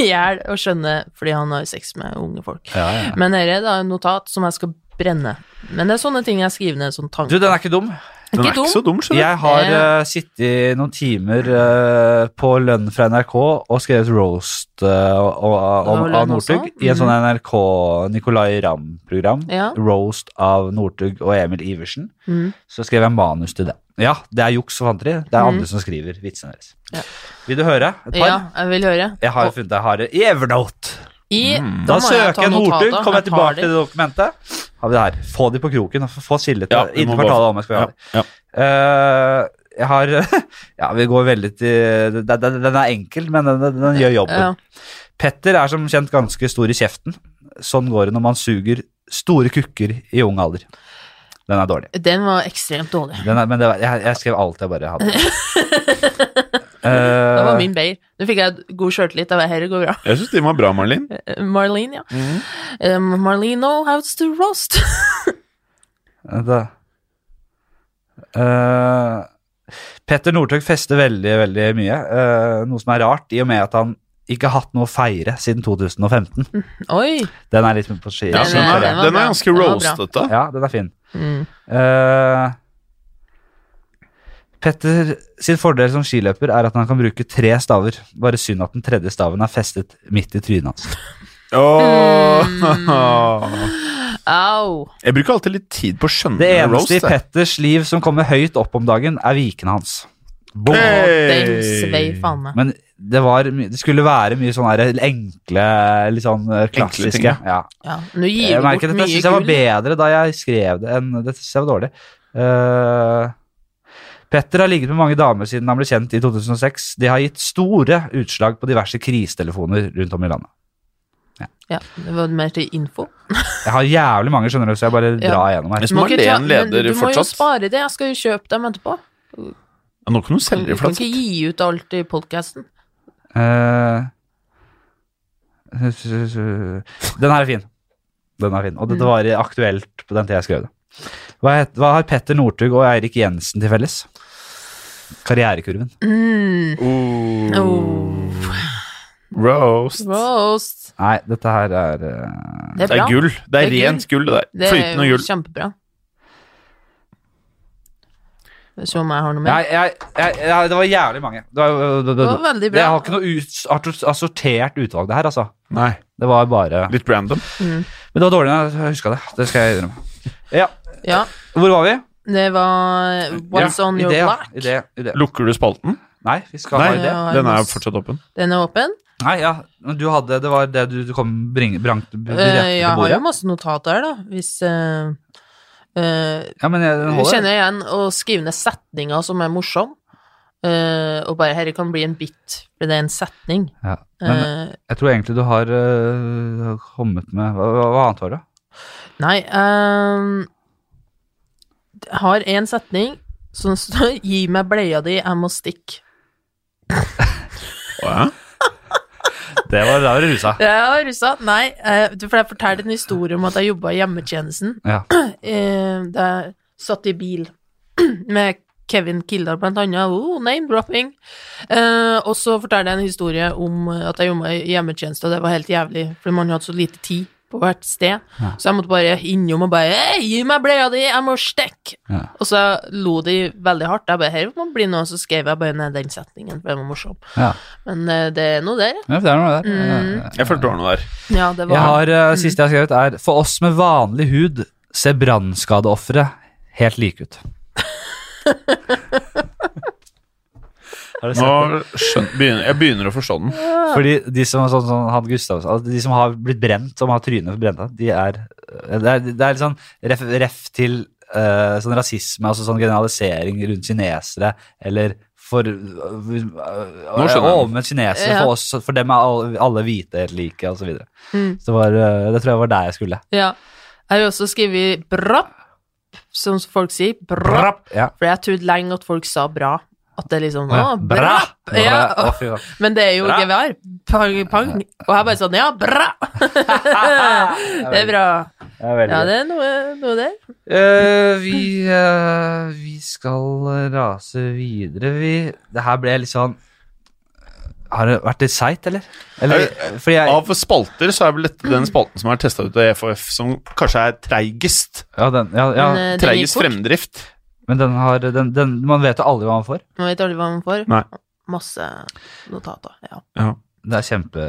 S2: i hjel og skjønner fordi han har sex med unge folk.
S1: ja, ja.
S2: Men dette er da en notat som jeg skal brenne. Men det er sånne ting jeg skriver ned. Sånn
S1: Du,
S2: tanke.
S1: den er ikke dum.
S3: Den
S2: Ikke
S3: er
S2: dum.
S3: ikke så dum, skjønner du.
S1: Jeg har
S2: Ja.
S1: eh, sittet noen timer eh, på lønn fra NRK og skrevet roast eh, og, og,
S2: Det var
S1: om- av
S2: lønn også? Mhm.
S1: Northug i en sånn NRK Nicolay Ramm-program.
S2: Ja.
S1: Roast av Northug og Emil Iversen.
S2: Mm.
S1: Så skrev jeg manus til det. Ja, det er juks og fanteri. Det er andre som skriver vitsene deres.
S2: Mhm. Ja.
S1: Vil du høre et par?
S2: Ja, jeg vil høre.
S1: Jeg har funnet jeg har det i Evernote.
S2: I,
S1: Da,
S3: Mm.
S2: må jeg ta
S1: søker jeg Northug.
S2: notater.
S1: Kommer jeg
S2: har
S1: tilbake til det dokumentet? Har vi det her. Få de på kroken. Få Silje til
S3: Ja,
S1: ja,
S3: vi må
S1: kvartalet
S3: bare-
S1: om jeg skal ha det.
S3: Ja.
S1: Eh, jeg har Ja, vi går veldig til Den, den, den er enkel, men den, den, den gjør jobben.
S2: Ja.
S1: Petter er som kjent ganske stor i kjeften. Sånn går det når man suger store kukker i ung alder. Den er dårlig.
S2: Den var ekstremt dårlig.
S1: Den er, men det, var- jeg, jeg skrev alt jeg bare hadde.
S2: Det
S1: Eh,
S2: var min bayer. Nå fikk jeg god sjøltillit. Jeg var, Her går bra.
S3: Jeg syns den var bra, Marlin.
S2: Eh, Marlene, ja. Um, Marlene know how to roast.
S1: Vent da. Eh, Petter Northug fester veldig, veldig mye. eh, noe som er rart, i og med at han ikke har hatt noe å feire siden 2015.
S2: Oi.
S1: Den sånn er litt på ski.
S3: Ja,
S2: Den
S3: den,
S2: er-
S3: er,
S2: den var
S3: den
S2: bra.
S3: er ganske
S2: Den var bra.
S3: roastete.
S1: Ja, den er fin.
S2: Mm.
S1: Eh, Petter sin fordel som skiløper er at han kan bruke tre staver. Bare synd at den tredje staven er festet midt i trynet hans.
S2: Mm.
S3: Åh.
S2: Au.
S3: Jeg bruker alltid litt tid på å skjønne
S1: Det eneste i
S3: roast. jeg.
S1: Petters liv som kommer høyt opp om dagen, er vikene hans. Boom.
S2: Den svei
S3: Hey.
S2: faen meg.
S1: Men det, var, my- det skulle være mye sånne her enkle, litt sånn eh, klassiske.
S3: ting, ja.
S1: ja.
S2: Ja. Nå gir
S1: Jeg
S2: du bort
S1: merker at jeg
S2: mye
S1: synes jeg var
S2: gull.
S1: bedre da jeg skrev det, enn det synes jeg var dårlig. Eh, Petter har ligget med mange damer siden han ble kjent i 2006. De har gitt store utslag på diverse krisetelefoner rundt om i landet.
S2: Ja, det var mer til info.
S1: Jeg har jævlig mange, skjønner du, så jeg bare
S2: Ja.
S1: drar gjennom her.
S3: Hvis
S2: Må
S3: man
S2: ikke
S3: er
S2: ta-
S3: en
S2: men
S3: leder
S2: du må jo
S3: fortsatt
S2: spare det, jeg skal jo kjøpe dem etterpå.
S3: Ja, Nå kan
S2: Kan,
S3: du selge
S2: du
S3: det
S2: kan
S3: flatt.
S2: ikke gi ut alt i podkasten.
S1: Eh, Den her er fin. Den er fin. Og
S2: Mm.
S1: dette var aktuelt på den tida jeg skrev det. Hva, het, hva har Petter Northug og Eirik Jensen til felles? Karrierekurven.
S2: Mm.
S3: Oh.
S2: Oh.
S3: Roast.
S2: Roast.
S1: Nei, dette her er eh,
S2: Det er
S3: Det
S2: bra.
S3: er gull. Det er
S2: Det er
S3: rent gull, det der.
S2: Det er
S3: Flytende
S2: jo
S3: gull.
S2: kjempebra. Skal vi se om jeg har noe
S1: Nei,
S2: mer.
S1: jeg, jeg, jeg, det var jævlig mange. Det, var, det, det,
S2: Det var veldig bra.
S1: Jeg har ikke noe ut, art- assortert utvalg, det her, altså.
S3: Nei,
S1: Det var bare
S3: litt random.
S1: Men det var dårlig når jeg huska det. Det skal jeg innrømme. Ja,
S2: Ja,
S1: hvor var vi?
S2: det var Once on your
S1: idé, ja.
S2: block.
S1: Idé, idé.
S3: Lukker du spalten?
S1: Nei, vi skal
S3: Nei,
S1: ha idé.
S2: Ja,
S3: den er
S2: masse.
S3: fortsatt åpen.
S2: Den er åpen.
S1: Nei, ja, men du hadde Det var det du du kom bring, brangt
S2: Eh,
S1: direkte
S2: jeg
S1: til
S2: har
S1: bordet?
S2: jo masse notater, da, hvis eh, eh,
S1: Ja, men jeg, den
S2: Du
S1: holder.
S2: kjenner igjen å skrive ned setninger som er morsom, eh, og bare 'herre kan bli en bit', for det er en setning.
S1: Ja. Men
S2: Eh,
S1: jeg tror egentlig du har øh, kommet med hva, hva hva annet var det?
S2: nei ehm, Jeg har én setning som står 'gi meg bleia di, jeg må stikke'.
S3: Å, ja.
S1: Det var da var det rusa.
S2: Ja, russa. Nei, eh, for jeg fortalte en historie om at jeg jobba i hjemmetjenesten.
S1: Ja.
S2: eh, da jeg satt i bil med Kevin Kildahl blant annet, oh, name-dropping. Eh, og så fortalte jeg en historie om at jeg jobba i hjemmetjeneste, og det var helt jævlig, for man hadde så lite tid på hvert sted. Så jeg måtte bare innom og bare Hei, gi meg bleia di, jeg må stikke!
S1: Ja.
S2: Og så lo de veldig hardt. Jeg bare Her må bli noe, så skrev jeg bare ned den setningen, for den var morsom.
S1: Ja.
S2: Men eh, det er noe der, ja.
S1: Ja, det er noe der.
S2: Mm.
S1: Ja.
S3: Jeg følte det var noe der.
S2: ja. Det
S1: Jeg
S2: var
S1: har, øh, Siste jeg har skrevet, er For oss med vanlig hud ser brannskadeofre helt like ut. Har du sett
S3: Nå
S1: det?
S3: skjøn- begynner, jeg begynner å forstå den.
S1: Fordi de som, er sånn, sånn, han Gustavs, altså, de som har blitt brent, som har trynet brent av, de er Det er, det er litt sånn ref, ref til eh, sånn rasisme, altså sånn generalisering rundt kinesere, eller for Nå
S3: skjønner jeg.
S1: Overmenn kinesere,
S2: Ja.
S1: for, oss, for dem er alle, alle hvite helt like, osv. Så videre.
S2: Mm.
S1: så det, var, eh, det tror jeg var der jeg skulle.
S2: Ja. Jeg har også skrevet 'brapp', som folk sier. 'Brapp'.
S1: Ja.
S2: For jeg trodde lenge at folk sa bra. At det liksom
S1: Å, ja.
S2: Å, bra!
S1: Bra!
S2: Ja,
S1: Å, fy faen.
S2: men det er jo
S1: Bra.
S2: gevær. Pang, pang. Og jeg bare sånn Ja, bra! det er bra.
S1: Det er veldig
S2: Ja,
S1: bra.
S2: det er noe, noe der.
S1: Eh, vi, eh, vi skal rase videre, vi. Det her ble litt sånn Har det vært litt seigt, eller? eller eh, fordi jeg,
S3: Av spalter så er vel dette den spalten som er testa ut av EFF, som kanskje er treigest.
S1: ja, den, ja, ja,
S2: Men, eh, den gikk
S3: Treigest
S2: fort.
S3: fremdrift.
S1: men den har den, den, Man vet jo aldri hva man får.
S2: Man vet aldri hva man får.
S3: Nei.
S2: Masse notater. Ja.
S1: Det er kjempe...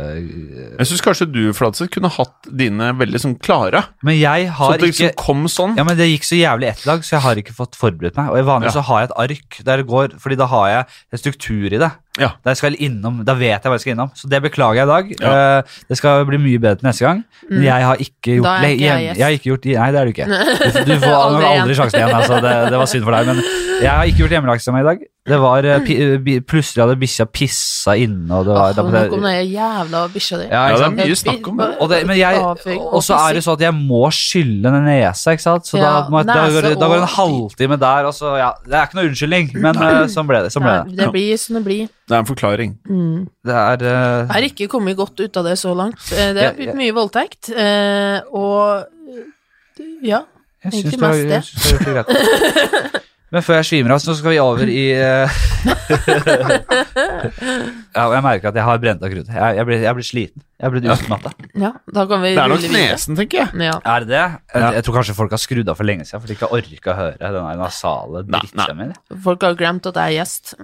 S3: Jeg syns kanskje du, Fladseth, kunne hatt dine veldig sånn klare.
S1: Men jeg
S3: Sånn at
S1: har ikke
S3: det liksom kom sånn.
S1: Ja, men Det gikk så jævlig ett dag, så jeg har ikke fått forberedt meg. Og i vanlig
S3: Ja.
S1: så har jeg et ark der det går, fordi da har jeg en struktur i det.
S3: Ja.
S1: Der jeg skal innom, Da vet jeg hva jeg skal innom, så det beklager jeg i dag.
S3: Ja.
S1: Eh, det skal bli mye bedre til neste gang. Men jeg har ikke gjort
S2: Mm. Da er
S1: le-
S2: ikke jeg
S1: hjem-
S2: gjest.
S1: har ikke gjort, Nei, det er du ikke. Du, du får aldri,
S2: Aldri
S1: aldri
S2: igjen.
S1: sjansen igjen. Altså, det, det var synd for deg. Men jeg har ikke gjort hjemmelaksa mi i dag. Det var eh, pi, eh, bi- Plutselig hadde bikkja pissa inne, og det
S2: Åh,
S1: var
S2: Nok om den jævla bikkja di.
S1: ja,
S3: Ja,
S1: ikke
S3: det
S1: sant?
S3: er mye snakk om det.
S1: Og, det, men jeg,
S2: Avføring og
S1: og så er det sånn at jeg må skylle ned nesa, ikke sant? Så da,
S2: Ja,
S1: må, jeg- da,
S2: nese
S1: går, det- da går det en
S2: og-
S1: halvtime der, og så ja, Det er ikke noe unnskyldning, men eh, sånn ble det. Sånn ble det.
S2: Nei, det blir som det blir.
S3: Det er en forklaring.
S2: Mm.
S1: det er, eh,
S2: Jeg har ikke kommet godt ut av det så langt. Eh, Det
S1: Ja,
S2: har blitt
S1: ja.
S2: mye voldtekt, eh, og eh, Ja.
S1: jeg
S2: egentlig
S1: syns du har
S2: mest det.
S1: jeg syns du har gjort det greit. Men før jeg svimer av, så skal vi over i eh, ja, og Jeg merker at jeg har brent av krutt. Jeg, jeg, blir, jeg blir sliten. Jeg blir utmatta.
S2: Ja, da kan vi
S3: Det er nok
S2: rulle videre.
S3: nesen, tenker jeg.
S2: Ja.
S1: Er det det?
S3: Ja.
S1: Jeg, jeg tror kanskje folk har skrudd av for lenge siden, for de ikke har orka å høre den der nasale
S3: Nei, nei.
S1: drittstemmen.
S2: Folk har glemt at jeg er gjest.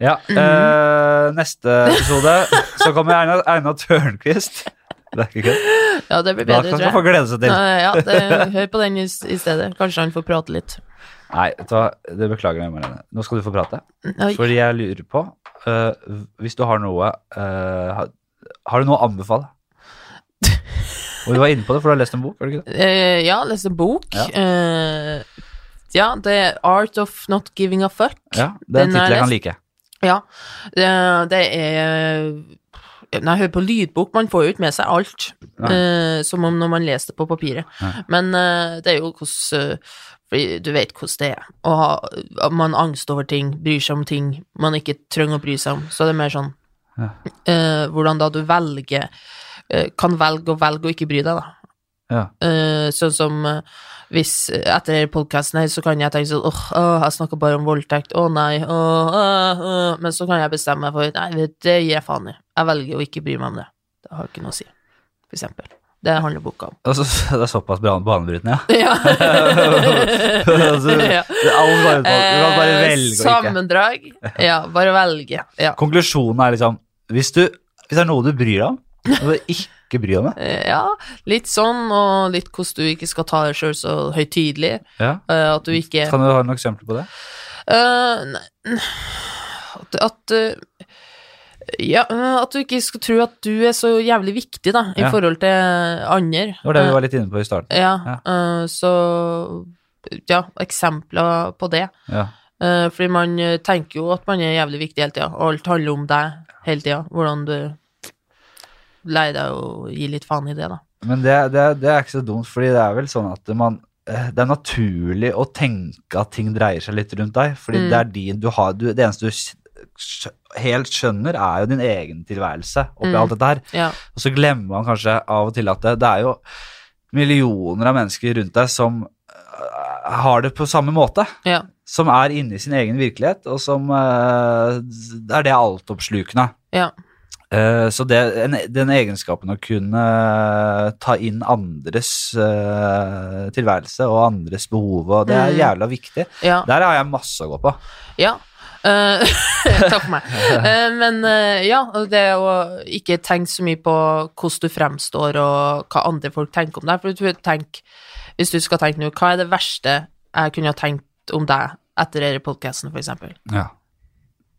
S1: Ja, eh, neste episode så kommer Einar, Einar Tørnquist. Det er ikke kødd.
S2: Ja, det blir
S1: Da
S2: bedre,
S1: kan
S2: tror
S1: folk
S2: jeg.
S1: glede seg til.
S2: Nei, ja, det, hør på den i, s- i stedet. Kanskje han får prate litt.
S1: Nei, vet du hva, det beklager jeg, Marlene. Nå skal du få prate.
S2: Oi.
S1: Fordi jeg lurer på eh, Hvis du har noe eh, har- Har du noe å anbefale? Og du var inne på det, for du har lest en bok? Har du ikke det?
S2: Eh, ja, lese bok.
S1: Ja.
S2: Eh, ja, det er Art of Not Giving a Fuck.
S1: Ja, det er en
S2: Den
S1: tittel
S2: har
S1: jeg
S2: jeg
S1: kan like.
S2: Ja, det, det er Når jeg hører på lydbok, man får jo ikke med seg alt,
S1: Nei.
S2: eh, som om når man leser det på papiret.
S1: Nei.
S2: Men eh, det er jo hvordan eh, fordi Du vet hvordan det er å ha at man har angst over ting, bryr seg om ting man ikke trenger å bry seg om. Så det er mer sånn
S1: Ja.
S2: eh, Hvordan da du velger eh, Kan velge å velge å ikke bry deg, da.
S1: Ja.
S2: Eh, sånn som eh, hvis eh, etter denne podkasten her, så kan jeg tenke sånn åh, åh, jeg snakker bare om voldtekt, å nei, åh, åh, åh. Men så kan jeg bestemme meg for nei, vet du, det gir jeg faen i. Jeg velger å ikke bry meg om det. Det har ikke noe å si, for eksempel. Det handler boka om.
S1: Altså, det er såpass bra- banebrytende, ja.
S2: Ja.
S1: altså,
S2: Ja.
S1: det er alt bare, du kan bare
S2: Eh,
S1: velge å ikke.
S2: Sammendrag. Ja, bare velge. Ja.
S1: Konklusjonen er liksom hvis, du, hvis det er noe du bryr deg om, så må du ikke bry deg om det.
S2: Eh, Ja, litt sånn, og litt hvordan du ikke skal ta deg sjøl så høytidelig.
S1: Ja.
S2: eh, At du ikke
S1: Kan du ha noen eksempler på det?
S2: Eh, nei, n- At, at eh, Ja, eh, at du ikke skal tro at du er så jævlig viktig, da, i
S1: Ja.
S2: forhold til andre.
S1: Det var det vi var litt inne på i starten.
S2: Eh, Ja,
S1: Ja.
S2: eh, så Ja, eksempler på det.
S1: Ja.
S2: Eh, fordi man eh, tenker jo at man er jævlig viktig hele tida, og alt handler om deg hele tida. Hvordan du lærer deg å gi litt faen i det, da.
S1: Men det, det, det er ikke så dumt, fordi det er vel sånn at man eh, det er naturlig å tenke at ting dreier seg litt rundt deg. fordi
S2: Mm.
S1: det er din, du har, du, det eneste du skj- helt skjønner, er jo din egen tilværelse oppi
S2: Mm.
S1: alt dette her.
S2: Ja.
S1: Og så glemmer man kanskje av og til at det, det er jo millioner av mennesker rundt deg som øh, har det på samme måte.
S2: ja.
S1: Som er inne i sin egen virkelighet, og som øh, er det altoppslukende.
S2: Ja.
S1: Eh, så det, en, den egenskapen å kunne eh, ta inn andres øh, tilværelse og andres behov, og det er
S2: Mm.
S1: jævla viktig.
S2: ja.
S1: Der har jeg masse å gå på.
S2: Ja. Eh, takk for meg. Eh, men eh, ja, og det å ikke tenke så mye på hvordan du fremstår og hva andre folk tenker om deg. For du tenk, hvis du skal tenke noe, hva er det verste jeg kunne ha tenkt om deg etter denne podkasten, for eksempel?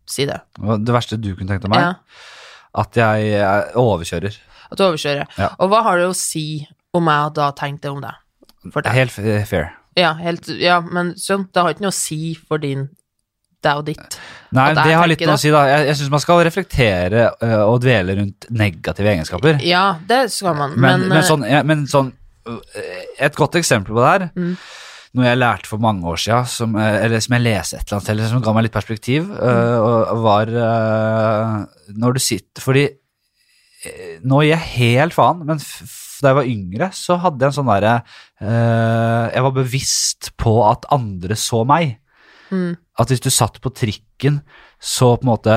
S2: Si det.
S1: Og det verste du kunne tenkt om meg,
S2: Ja,
S1: at jeg eh, overkjører.
S2: at du overkjører.
S1: Ja.
S2: Og hva har det å si om jeg da tenkte om deg? For deg?
S1: Helt f- fair.
S2: Ja, helt, ja, men sånn, det har ikke noe å si for din, deg og ditt.
S1: Nei,
S2: At
S1: det
S2: jeg
S1: har
S2: tenker
S1: litt noe å si, da. Jeg, jeg syns man skal reflektere ø, og dvele rundt negative egenskaper.
S2: Ja, det skal man,
S1: Men,
S2: men, øh,
S1: men, sånn, ja, men sånn ø, Et godt eksempel på det her,
S2: Mm.
S1: noe jeg lærte for mange år siden, som, ø, eller som jeg leste et eller annet sted, eller som ga meg litt perspektiv, ø,
S2: Mm.
S1: og var ø, når du sitter Fordi ø, nå gir jeg helt faen, men f f- da jeg var yngre, så hadde jeg en sånn derre ø, Jeg var bevisst på at andre så meg
S2: mm,
S1: at hvis du satt på trikken, så på en måte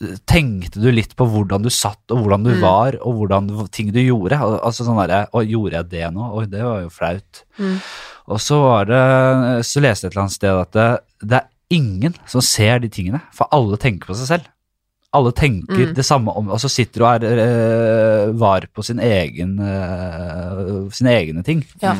S1: eh, tenkte du litt på hvordan du satt, og hvordan du
S2: Mm.
S1: var, og hvordan hv- ting du gjorde. Al- Altså sånn derre Å, gjorde jeg det nå? Oi, det var jo flaut.
S2: Mm.
S1: Og så var det eh, Så leste jeg et eller annet sted at det, det er ingen som ser de tingene, for alle tenker på seg selv. Alle tenker
S2: Mm.
S1: det samme om Og så sitter du og er eh, var på sin egen eh, sine egne ting.
S2: Ja.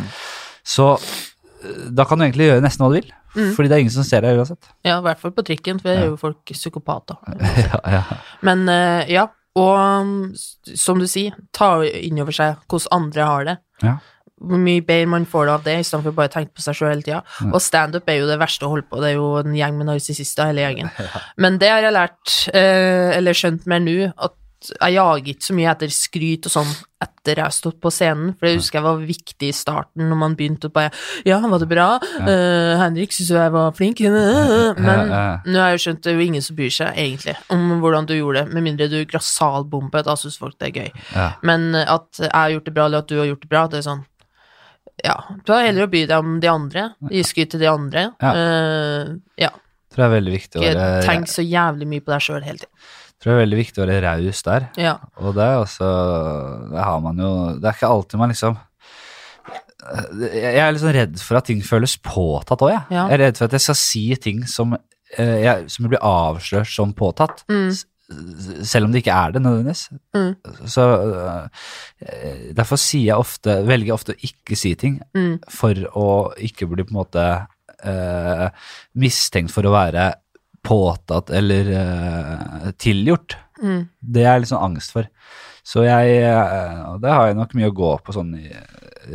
S1: Så eh, da kan du egentlig gjøre nesten hva du vil,
S2: Mm.
S1: fordi det er ingen som ser deg uansett.
S2: ja, i hvert fall på trikken, for det er jo folk psykopater.
S1: ja, ja.
S2: Men eh, ja, og um, s- som du sier, ta inn over seg hvordan andre har det.
S1: Ja.
S2: Hvor mye bedre man får det av det, istedenfor bare å tenke på seg sjøl hele tida.
S1: Mm.
S2: Og standup er jo det verste å holde på, det er jo en gjeng med narsissister, hele gjengen. Men det har jeg lært, eh, eller skjønt mer nå, at jeg jager ikke så mye etter skryt og sånn etter jeg har stått på scenen, for det husker jeg var viktig i starten, når man begynte å bare Ja, var det bra? Eh, Henrik syntes jo jeg var flink. Men
S1: ja, ja.
S2: nå har jeg jo skjønt det er jo ingen som bryr seg, egentlig, om hvordan du gjorde det, med mindre du grasalbomber, da syns folk det er gøy.
S1: Ja.
S2: Men at jeg har gjort det bra, eller at du har gjort det bra, det er sånn Ja. Du har heller å by deg om de andre, gi skryt til de andre.
S1: Ja.
S2: Eh, ja.
S1: Tror det er veldig viktig å
S2: Ikke
S1: være,
S2: tenk så jævlig mye på deg sjøl hele tiden.
S1: tror det er veldig viktig å være raus der.
S2: Ja.
S1: Og det er også Det har man jo Det er ikke alltid man liksom Jeg er litt sånn redd for at ting føles påtatt òg, jeg.
S2: Ja.
S1: Jeg er redd for at jeg skal si ting som, eh, jeg, som blir avslørt som påtatt.
S2: Mm.
S1: S- Selv om det ikke er det, nødvendigvis.
S2: Mm.
S1: Så eh, Derfor sier jeg ofte Velger jeg ofte å ikke si ting
S2: Mm.
S1: for å ikke bli på en måte eh, mistenkt for å være påtatt eller eh, tilgjort.
S2: Mm.
S1: Det er jeg litt sånn angst for. Så jeg, eh, og det har jeg nok mye å gå på sånn i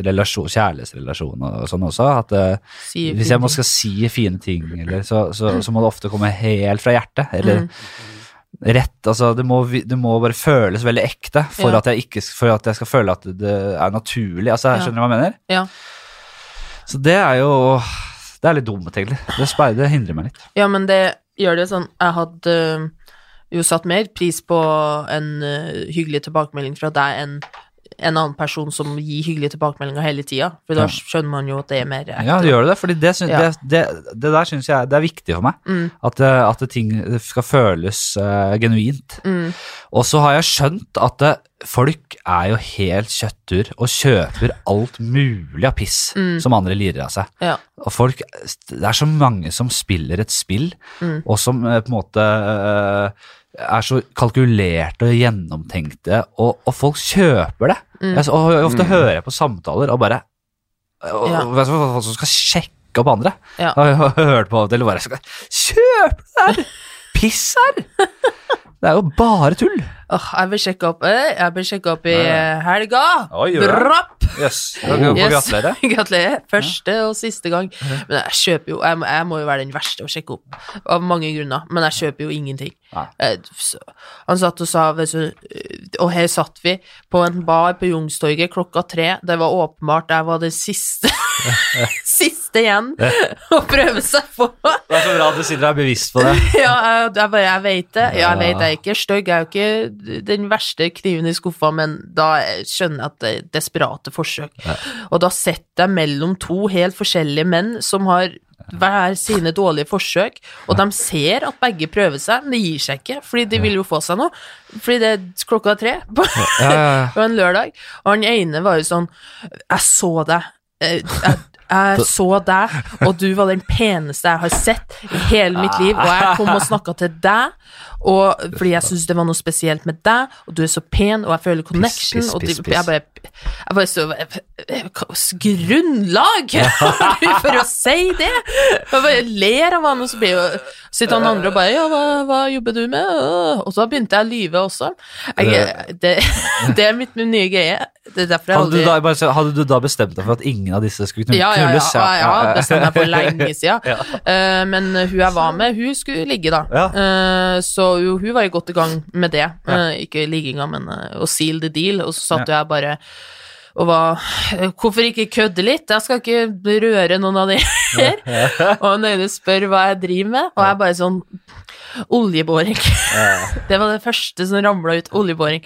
S1: relasjon, kjærlighetsrelasjon og sånn også, at eh,
S2: Si
S1: hvis jeg må skal si fine ting, eller, så, så, så må det ofte komme helt fra hjertet, eller
S2: Mm.
S1: rett, altså det må, vi- det må bare føles veldig ekte for,
S2: Ja.
S1: at jeg ikke, for at jeg skal føle at det er naturlig, altså jeg
S2: Ja.
S1: skjønner du hva jeg mener?
S2: Ja.
S1: Så det er jo Det er litt dumt, egentlig. Det, sperrer, det hindrer meg litt.
S2: Ja, men det gjør det sånn Jeg hadde eh, øh, jo satt mer pris på en øh, hyggelig tilbakemelding fra deg enn en annen person som gir hyggelige tilbakemeldinger hele tida. For da
S1: Ja.
S2: skjønner man jo at det er mer ekte.
S1: Ja, gjør du det? Fordi det, syns-
S2: Ja.
S1: det, det, det der syns jeg det er viktig for meg.
S2: Mm.
S1: At, eh, at ting skal føles eh, genuint.
S2: Mm.
S1: Og så har jeg skjønt at eh, folk er jo helt kjøttur og kjøper alt mulig av piss
S2: Mm.
S1: som andre lirer av seg.
S2: Ja.
S1: Og folk, det er så mange som spiller et spill,
S2: Mm.
S1: og som eh, på en måte eh, er så kalkulerte og gjennomtenkte, og, og folk kjøper det.
S2: Mm.
S1: Jeg, så- og, jeg ofte
S3: Mm.
S1: hører jeg på samtaler og bare og,
S2: Ja.
S1: og- Folk som skal sjekke opp andre.
S2: Ja.
S1: Og jeg har hørt på av og til og bare skal, Kjøp det her! Piss her! Det er jo bare tull.
S2: Åh, jeg ble sjekka opp eh, Jeg ble sjekket opp i eh, helga!
S1: Oi, gjør det?
S2: Brapp!
S1: Yes.
S3: kan
S2: Yes. Gratulerer. Første og siste gang. Men jeg kjøper jo jeg, må- jeg må jo være den verste å sjekke opp, av mange grunner. Men jeg kjøper jo ingenting.
S1: Nei.
S2: Eh, så- Han satt og sa vet du, eh, Og her satt vi på en bar på Youngstorget klokka tre. Det var åpenbart jeg var den siste Siste igjen å prøve seg på.
S1: Det er så bra at du sitter og er bevisst på det.
S2: Ja, jeg, jeg, bare, jeg vet det. Ja, jeg
S1: Ja.
S2: vet jeg er ikke stygg. Jeg er jo ikke den verste kniven i skuffa, men da skjønner jeg at det er desperate forsøk. Og da sitter jeg mellom to helt forskjellige menn som har hver sine dårlige forsøk, og de ser at begge prøver seg, men det gir seg ikke, fordi de vil jo få seg noe. Fordi det er klokka tre på
S1: Ja, ja, ja.
S2: det var en lørdag, og han ene var jo sånn Jeg så deg. Eh, Jeg, jeg så deg, og du var den peneste jeg har sett i hele mitt liv. Og jeg kom og snakka til deg, og, fordi jeg syntes det var noe spesielt med deg, og du er så pen, og jeg føler connection.
S1: piss,
S2: Og
S1: piss,
S2: du,
S1: piss.
S2: jeg bare, jeg bare så jeg, jeg, hva- Grunnlag! For å si det! Jeg bare ler av han, og så blir jo sitter han andre og bare Ja, hva, hva jobber du med? Øh, Og så begynte jeg å lyve også. Jeg, det, det er mitt nye greie. Det er derfor jeg
S1: Hadde du,
S2: aldri
S1: da, bare, så- hadde du da bestemt deg for at ingen av disse skulle knu-
S2: ja, ja, ja,
S1: knulles?
S2: ja, ja, det stemmer for lenge siden.
S1: Ja.
S2: Eh, men hun jeg var med, hun skulle ligge, da.
S1: Ja.
S2: Eh, så jo, hun var jo godt i gang med det. Eh, ikke ligginga, men eh, å seal the deal. Og så satt jeg bare og var eh, Hvorfor ikke kødde litt? Jeg skal ikke røre noen av de her. og han ene spør hva jeg driver med, og jeg bare sånn Oljeboring. det var det første som ramla ut. Oljeboring.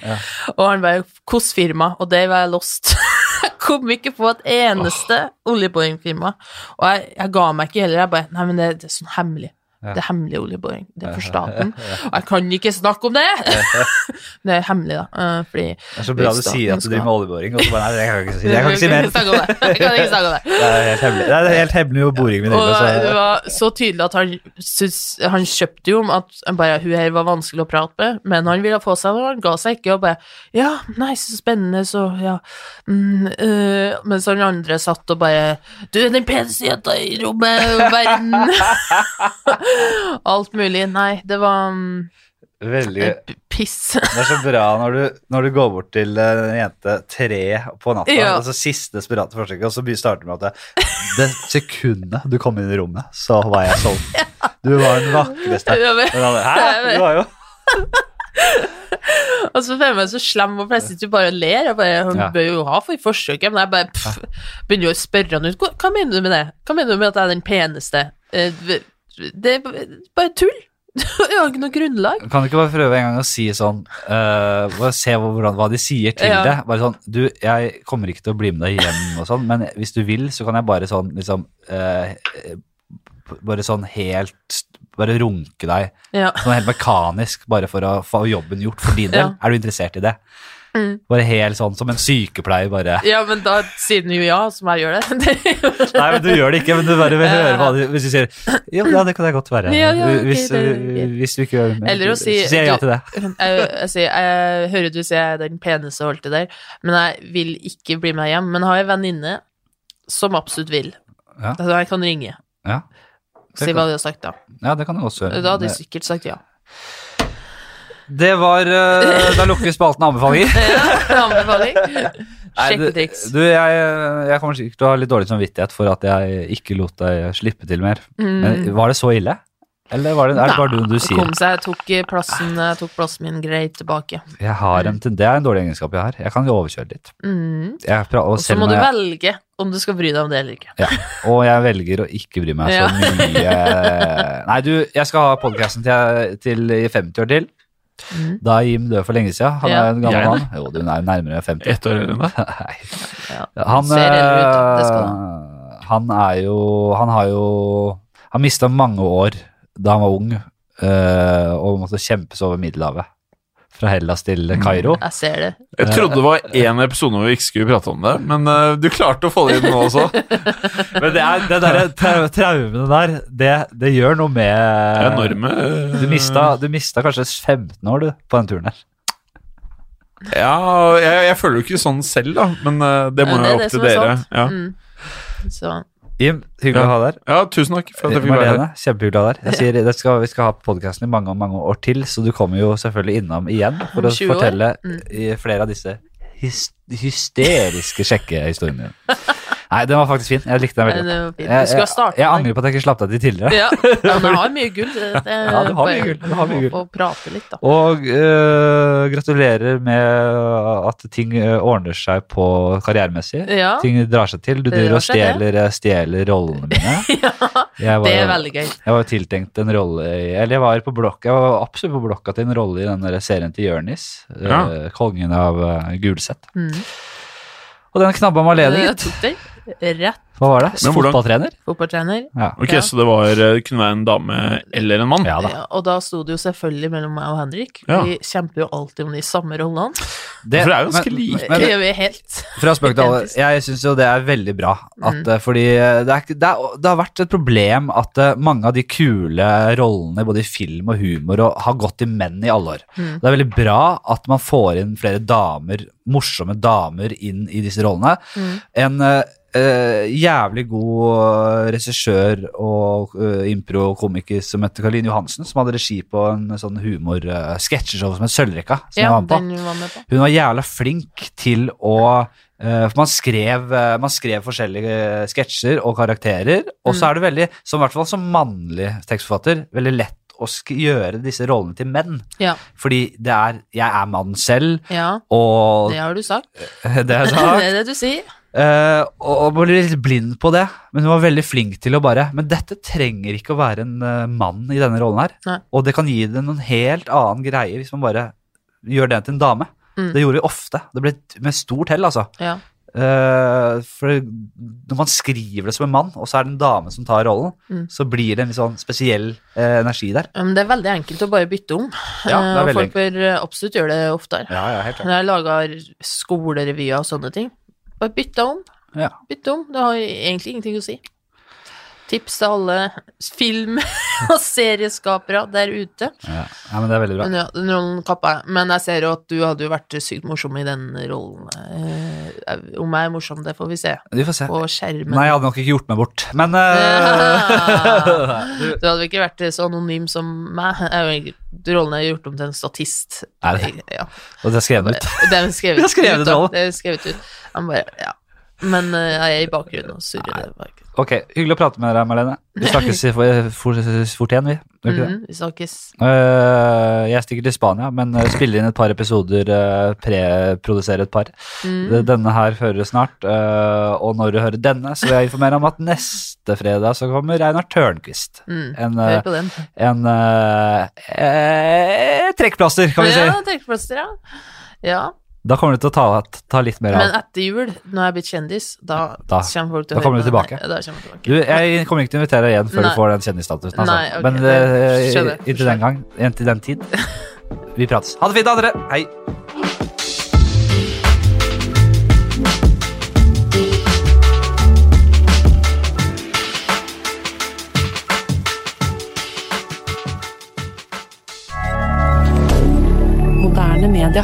S2: Og han bare Hvilket firma? Og det var jeg lost. jeg kom ikke på et eneste oljeboringfirma. Og jeg, jeg ga meg ikke heller. Jeg bare Nei, men det, det er sånn hemmelig. Det er hemmelig oljeboring. Det er for staten. Og jeg kan ikke snakke om det! det er hemmelig, da. eh, Fordi
S1: Det er så bra du
S2: Staten
S1: sier at du
S2: skal-
S1: driver med oljeboring, og så bare nei, jeg kan ikke si, jeg kan ikke si mer.
S2: Jeg kan ikke snakke om det. Jeg kan ikke snakke om det.
S1: Det er helt hemmelig, det er helt hemmelig hvor boringen min driver.
S2: Og det
S1: så-
S2: var så tydelig at han syns Han kjøpte jo om at han bare, hun her var vanskelig å prate med, men han ville få seg noe, han ga seg ikke, og bare Ja, nei, så spennende, så ja mm, øh, Mens han andre satt og bare Du er den peneste jenta i rommet, og verden Alt mulig. Nei, det var mm,
S1: Veldig,
S2: piss.
S1: det er så bra når du, når du går bort til eh, en jente tre på natta,
S2: Ja.
S1: altså siste desperate forsøket, og så be- starter du med at det, det sekundet du kom inn i rommet, så var jeg solgt. Du var den vakreste.
S2: Ja, men-
S1: Men han, Hæ? Du var jo
S2: Og så føler jeg meg så slem, og jeg sitter jo bare og ler. Jeg bare, hun
S1: Ja.
S2: bør jo ha for forsøket, men jeg bare pff, begynner jo å spørre han ut. Hva, hva mener du med det? Hva mener du med at jeg er den peneste? Eh, Det er bare tull. Jeg har ikke noe grunnlag.
S1: Kan du ikke bare prøve en gang å si sånn eh, bare Se hvor- hvordan, hva de sier til
S2: Ja.
S1: deg. Bare sånn Du, jeg kommer ikke til å bli med deg hjem og sånn, men hvis du vil, så kan jeg bare sånn liksom eh, Bare sånn helt Bare runke deg.
S2: Ja.
S1: Sånn helt mekanisk, bare for å få jobben gjort for din del.
S2: Ja.
S1: Er du interessert i det?
S2: Mm.
S1: Bare helt sånn som en sykepleier, bare
S2: ja, men da sier den jo ja, som jeg gjør det. det er jo- sånn.
S1: Nei, men du gjør det ikke, men du bare vil
S2: Ja, ja,
S1: høre
S2: ja.
S1: hva de Hvis du sier Jo, ja, det kan jeg godt være.
S2: Ja, ja, ok,
S1: hvis,
S2: det er greit.
S1: hvis du ikke gjør
S2: Eller å si-
S1: Så sier jeg ja til det.
S2: jeg, jeg, sier, jeg hører du sier jeg er den peneste og alt det der, men jeg vil ikke bli med hjem. Men jeg har en venninne som absolutt vil.
S1: Ja.
S2: Altså, jeg kan ringe.
S1: Ja.
S2: Si hva du har sagt, da.
S1: Ja, det kan du også gjøre.
S2: Da hadde
S1: Det-
S2: jeg sikkert sagt ja.
S1: Det var eh, Da lukker vi spalten anbefalinger.
S2: Anbefaling.
S1: Nei, du,
S2: Sjekketriks.
S1: du, jeg, eh, jeg kommer sikkert til å ha litt dårlig samvittighet for at jeg ikke lot deg slippe til mer. Men
S2: Mm.
S1: var det så ille? Eller var det, er det bare
S2: Nei,
S1: noe du
S2: det
S1: sier?
S2: Kom seg, jeg tok eh, plassen, jeg tok plassen min greit tilbake.
S1: Jeg har en, tend- det er en dårlig egenskap jeg har. Jeg kan overkjøre litt.
S2: Mm.
S1: Jeg, pra- og,
S2: Og så
S1: selv
S2: må
S1: om
S2: du
S1: jeg,
S2: velge om du skal bry deg om det eller ikke.
S1: ja, og jeg velger å ikke bry meg så
S2: Ja.
S1: mye. Nei, du, jeg skal ha podkasten til, jeg- til i 50 år til.
S2: Mhm.
S1: Da er Jim død for lenge siden. Han
S2: Ja.
S1: er en gammel
S3: Jeg,
S1: mann. Jo, du er nærmere 50.
S3: Ett år eller noe?
S1: Nei.
S2: Ja.
S1: Han,
S2: Ser eldre ut, da. Det skal
S1: eh, han er jo Han har jo Han mista mange år da han var ung, eh, og måtte kjempes over Middelhavet. Fra Hellas til Kairo.
S2: Jeg ser det.
S3: Jeg trodde det var én episode hvor vi ikke skulle prate om det, men eh, du klarte å få det inn nå også.
S1: Men det, er, det der trau- traumene der, det, det gjør noe
S3: Det
S1: med
S3: er enorme eh,
S1: Du mista, du mista kanskje 15 år du, på den turen her.
S3: eh, Ja, jeg, jeg føler jo ikke sånn selv, da, men eh, det må
S2: Men
S3: jo opp til
S2: som er
S3: dere.
S2: sant.
S3: Ja.
S2: Mm. Så
S1: Jim, hyggelig å ha deg her.
S3: ja, tusen takk for at jeg fikk være her.
S1: Marlene, kjempehyggelig å ha deg her. Jeg sier, det skal, vi skal ha podkasten i mange mange år til, så du kommer jo selvfølgelig innom igjen for
S2: Om
S1: å
S2: 20 år?
S1: fortelle
S2: Mm.
S1: i flere av disse hys hysteriske sjekkehistoriene dine. Nei, den var faktisk fin. Jeg likte den
S2: men
S1: veldig godt.
S2: det var fint.
S1: Jeg,
S2: Du skulle ha
S1: jeg,
S2: startet.
S1: jeg angrer på at jeg ikke slapp deg til tidligere.
S2: Ja, men jeg har mye gull. Det, det,
S1: Ja, du har mye gull, du har mye gull.
S2: Å prate litt, da.
S1: Og eh, gratulerer med at ting eh, ordner seg på karrieremessig.
S2: Ja,
S1: Ting drar seg til. Du
S2: Det
S1: driver og
S2: drar seg
S1: stjeler, eh, stjeler rollene mine. Jeg var,
S2: det er
S1: jo-
S2: veldig gøy.
S1: Jeg var jo tiltenkt en rolle i Eller jeg var på blokka, jeg var absolutt på blokka til en rolle i den der serien til Jørnis. eh,
S3: Ja.
S1: kongen av uh, Gulset.
S2: Mm.
S1: Og den knabba Malene,
S2: Jeg
S1: gitt.
S2: tok den. Rett
S1: Hva var det?
S3: Men hvordan-
S1: Fotballtrener?
S2: fotballtrener.
S1: Ja.
S3: Ok,
S2: Ja.
S3: Så det var, eh, kunne være en dame eller en mann?
S1: ja da.
S2: Ja, Eh, og da sto det jo selvfølgelig mellom meg og Henrik.
S3: Ja.
S2: Vi kjemper jo alltid om de samme rollene.
S1: Det,
S3: For det er jo ganske like.
S1: Men,
S2: Det gjør vi helt.
S1: Fra spøk til alle. Jeg syns jo det er veldig bra. At,
S2: Mm.
S1: eh, Fordi det, er, ikke- det, er, det har vært et problem at eh, mange av de kule rollene både i film og humor og, har gått til menn i alle år.
S2: Mm.
S1: Det er veldig bra at man får inn flere damer, morsomme damer inn i disse rollene.
S2: Mm.
S1: En eh, eh, jævlig god eh, regissør og eh, impro-komiker som heter Karoline Johansen, som hadde regi på en sånn humor-sketsjeshow som het Sølvrekka. Som jeg
S2: Ja,
S1: var med på.
S2: den var med på.
S1: Hun var jævla flink til å eh, For man skrev, eh, man skrev forskjellige eh, sketsjer og karakterer, og så
S2: Mm.
S1: er det veldig, som i hvert fall som mannlig tekstforfatter, veldig lett å sk gjøre disse rollene til menn.
S2: Ja.
S1: Fordi det er Jeg er mann selv,
S2: ja,
S1: og
S2: det har du sagt.
S1: Det er
S2: Det
S1: sant.
S2: er det du sier.
S1: Eh, og og ble litt blind på det, men hun var veldig flink til å bare Men dette trenger ikke å være en eh, mann i denne rollen her.
S2: Nei.
S1: Og det kan gi det noen helt annen greie hvis man bare gjør den til en dame.
S2: Mm.
S1: Det gjorde vi ofte. Det ble t- med stort hell, altså.
S2: Ja.
S1: Eh, for det- når man skriver det som en mann, og så er det en dame som tar rollen,
S2: Mm.
S1: så blir det en litt sånn spesiell eh, energi der.
S2: Men det er veldig enkelt å bare bytte om.
S1: Ja, det er
S2: Eh, og
S1: veldig
S2: folk bør eh, absolutt gjøre det oftere.
S1: Ja, ja, helt
S2: Når jeg lager skolerevyer og sånne ting, bare bytte om.
S1: Ja.
S2: Bytte om. Det har egentlig ingenting å si. Tips til alle film- og serieskapere der ute.
S1: Ja. ja, men det er veldig bra.
S2: Men ja, den rollen kappa jeg. Men jeg ser jo at du hadde jo vært sykt morsom i den rollen. Eh, om jeg er morsom, det får vi se
S1: Vi får se.
S2: på skjermen.
S1: Nei, jeg hadde nok ikke gjort meg bort, men eh, du-
S2: Du hadde vel ikke vært så anonym som meg. Jeg er jo egentlig- Rollen er gjort om til en statist.
S1: Er det?
S2: Ja.
S1: Og det skrev jeg ut.
S2: Det er skrevet,
S1: Det er skrevet
S2: ut, da.
S1: rollen.
S2: Det er skrevet ut. Han bare, ja. Men eh, jeg er i bakgrunnen og surrer. det var ikke-
S1: Ok, hyggelig å prate med deg, Marlene. Vi snakkes i- for- for- fort igjen, vi. Gjør ikke det?
S2: Mhm, Vi snakkes.
S1: Øh, jeg stikker til Spania, men øh, spiller inn et par episoder, øh, preproduserer et par.
S2: Mhm.
S1: Det- Denne her hører du snart, øh, og når du hører denne, så vil jeg informere om at neste fredag så kommer Einar Tørnquist.
S2: Mhm.
S1: En,
S2: Hør
S1: øh,
S2: på den.
S1: en øh, eh, trekkplaster, kan vi si.
S2: Ja, trekkplaster, ja. ja.
S1: Da kommer du til å ta, ta litt mer
S2: Men
S1: av.
S2: etter jul, når jeg er blitt kjendis, da,
S1: Da-
S2: kommer folk til
S1: da
S2: å
S1: kommer
S2: høre
S1: du
S2: på
S1: tilbake.
S2: den. Da kommer jeg tilbake.
S1: Du, jeg kommer ikke til å invitere deg igjen før
S2: Nei.
S1: du får den kjendisstatusen. Altså.
S2: Nei, ok,
S1: Men
S2: det skjønner jeg.
S1: øh, inntil den gang, inntil den tid, vi prates. Ha det fint, da, dere. Hei.
S4: Moderne media.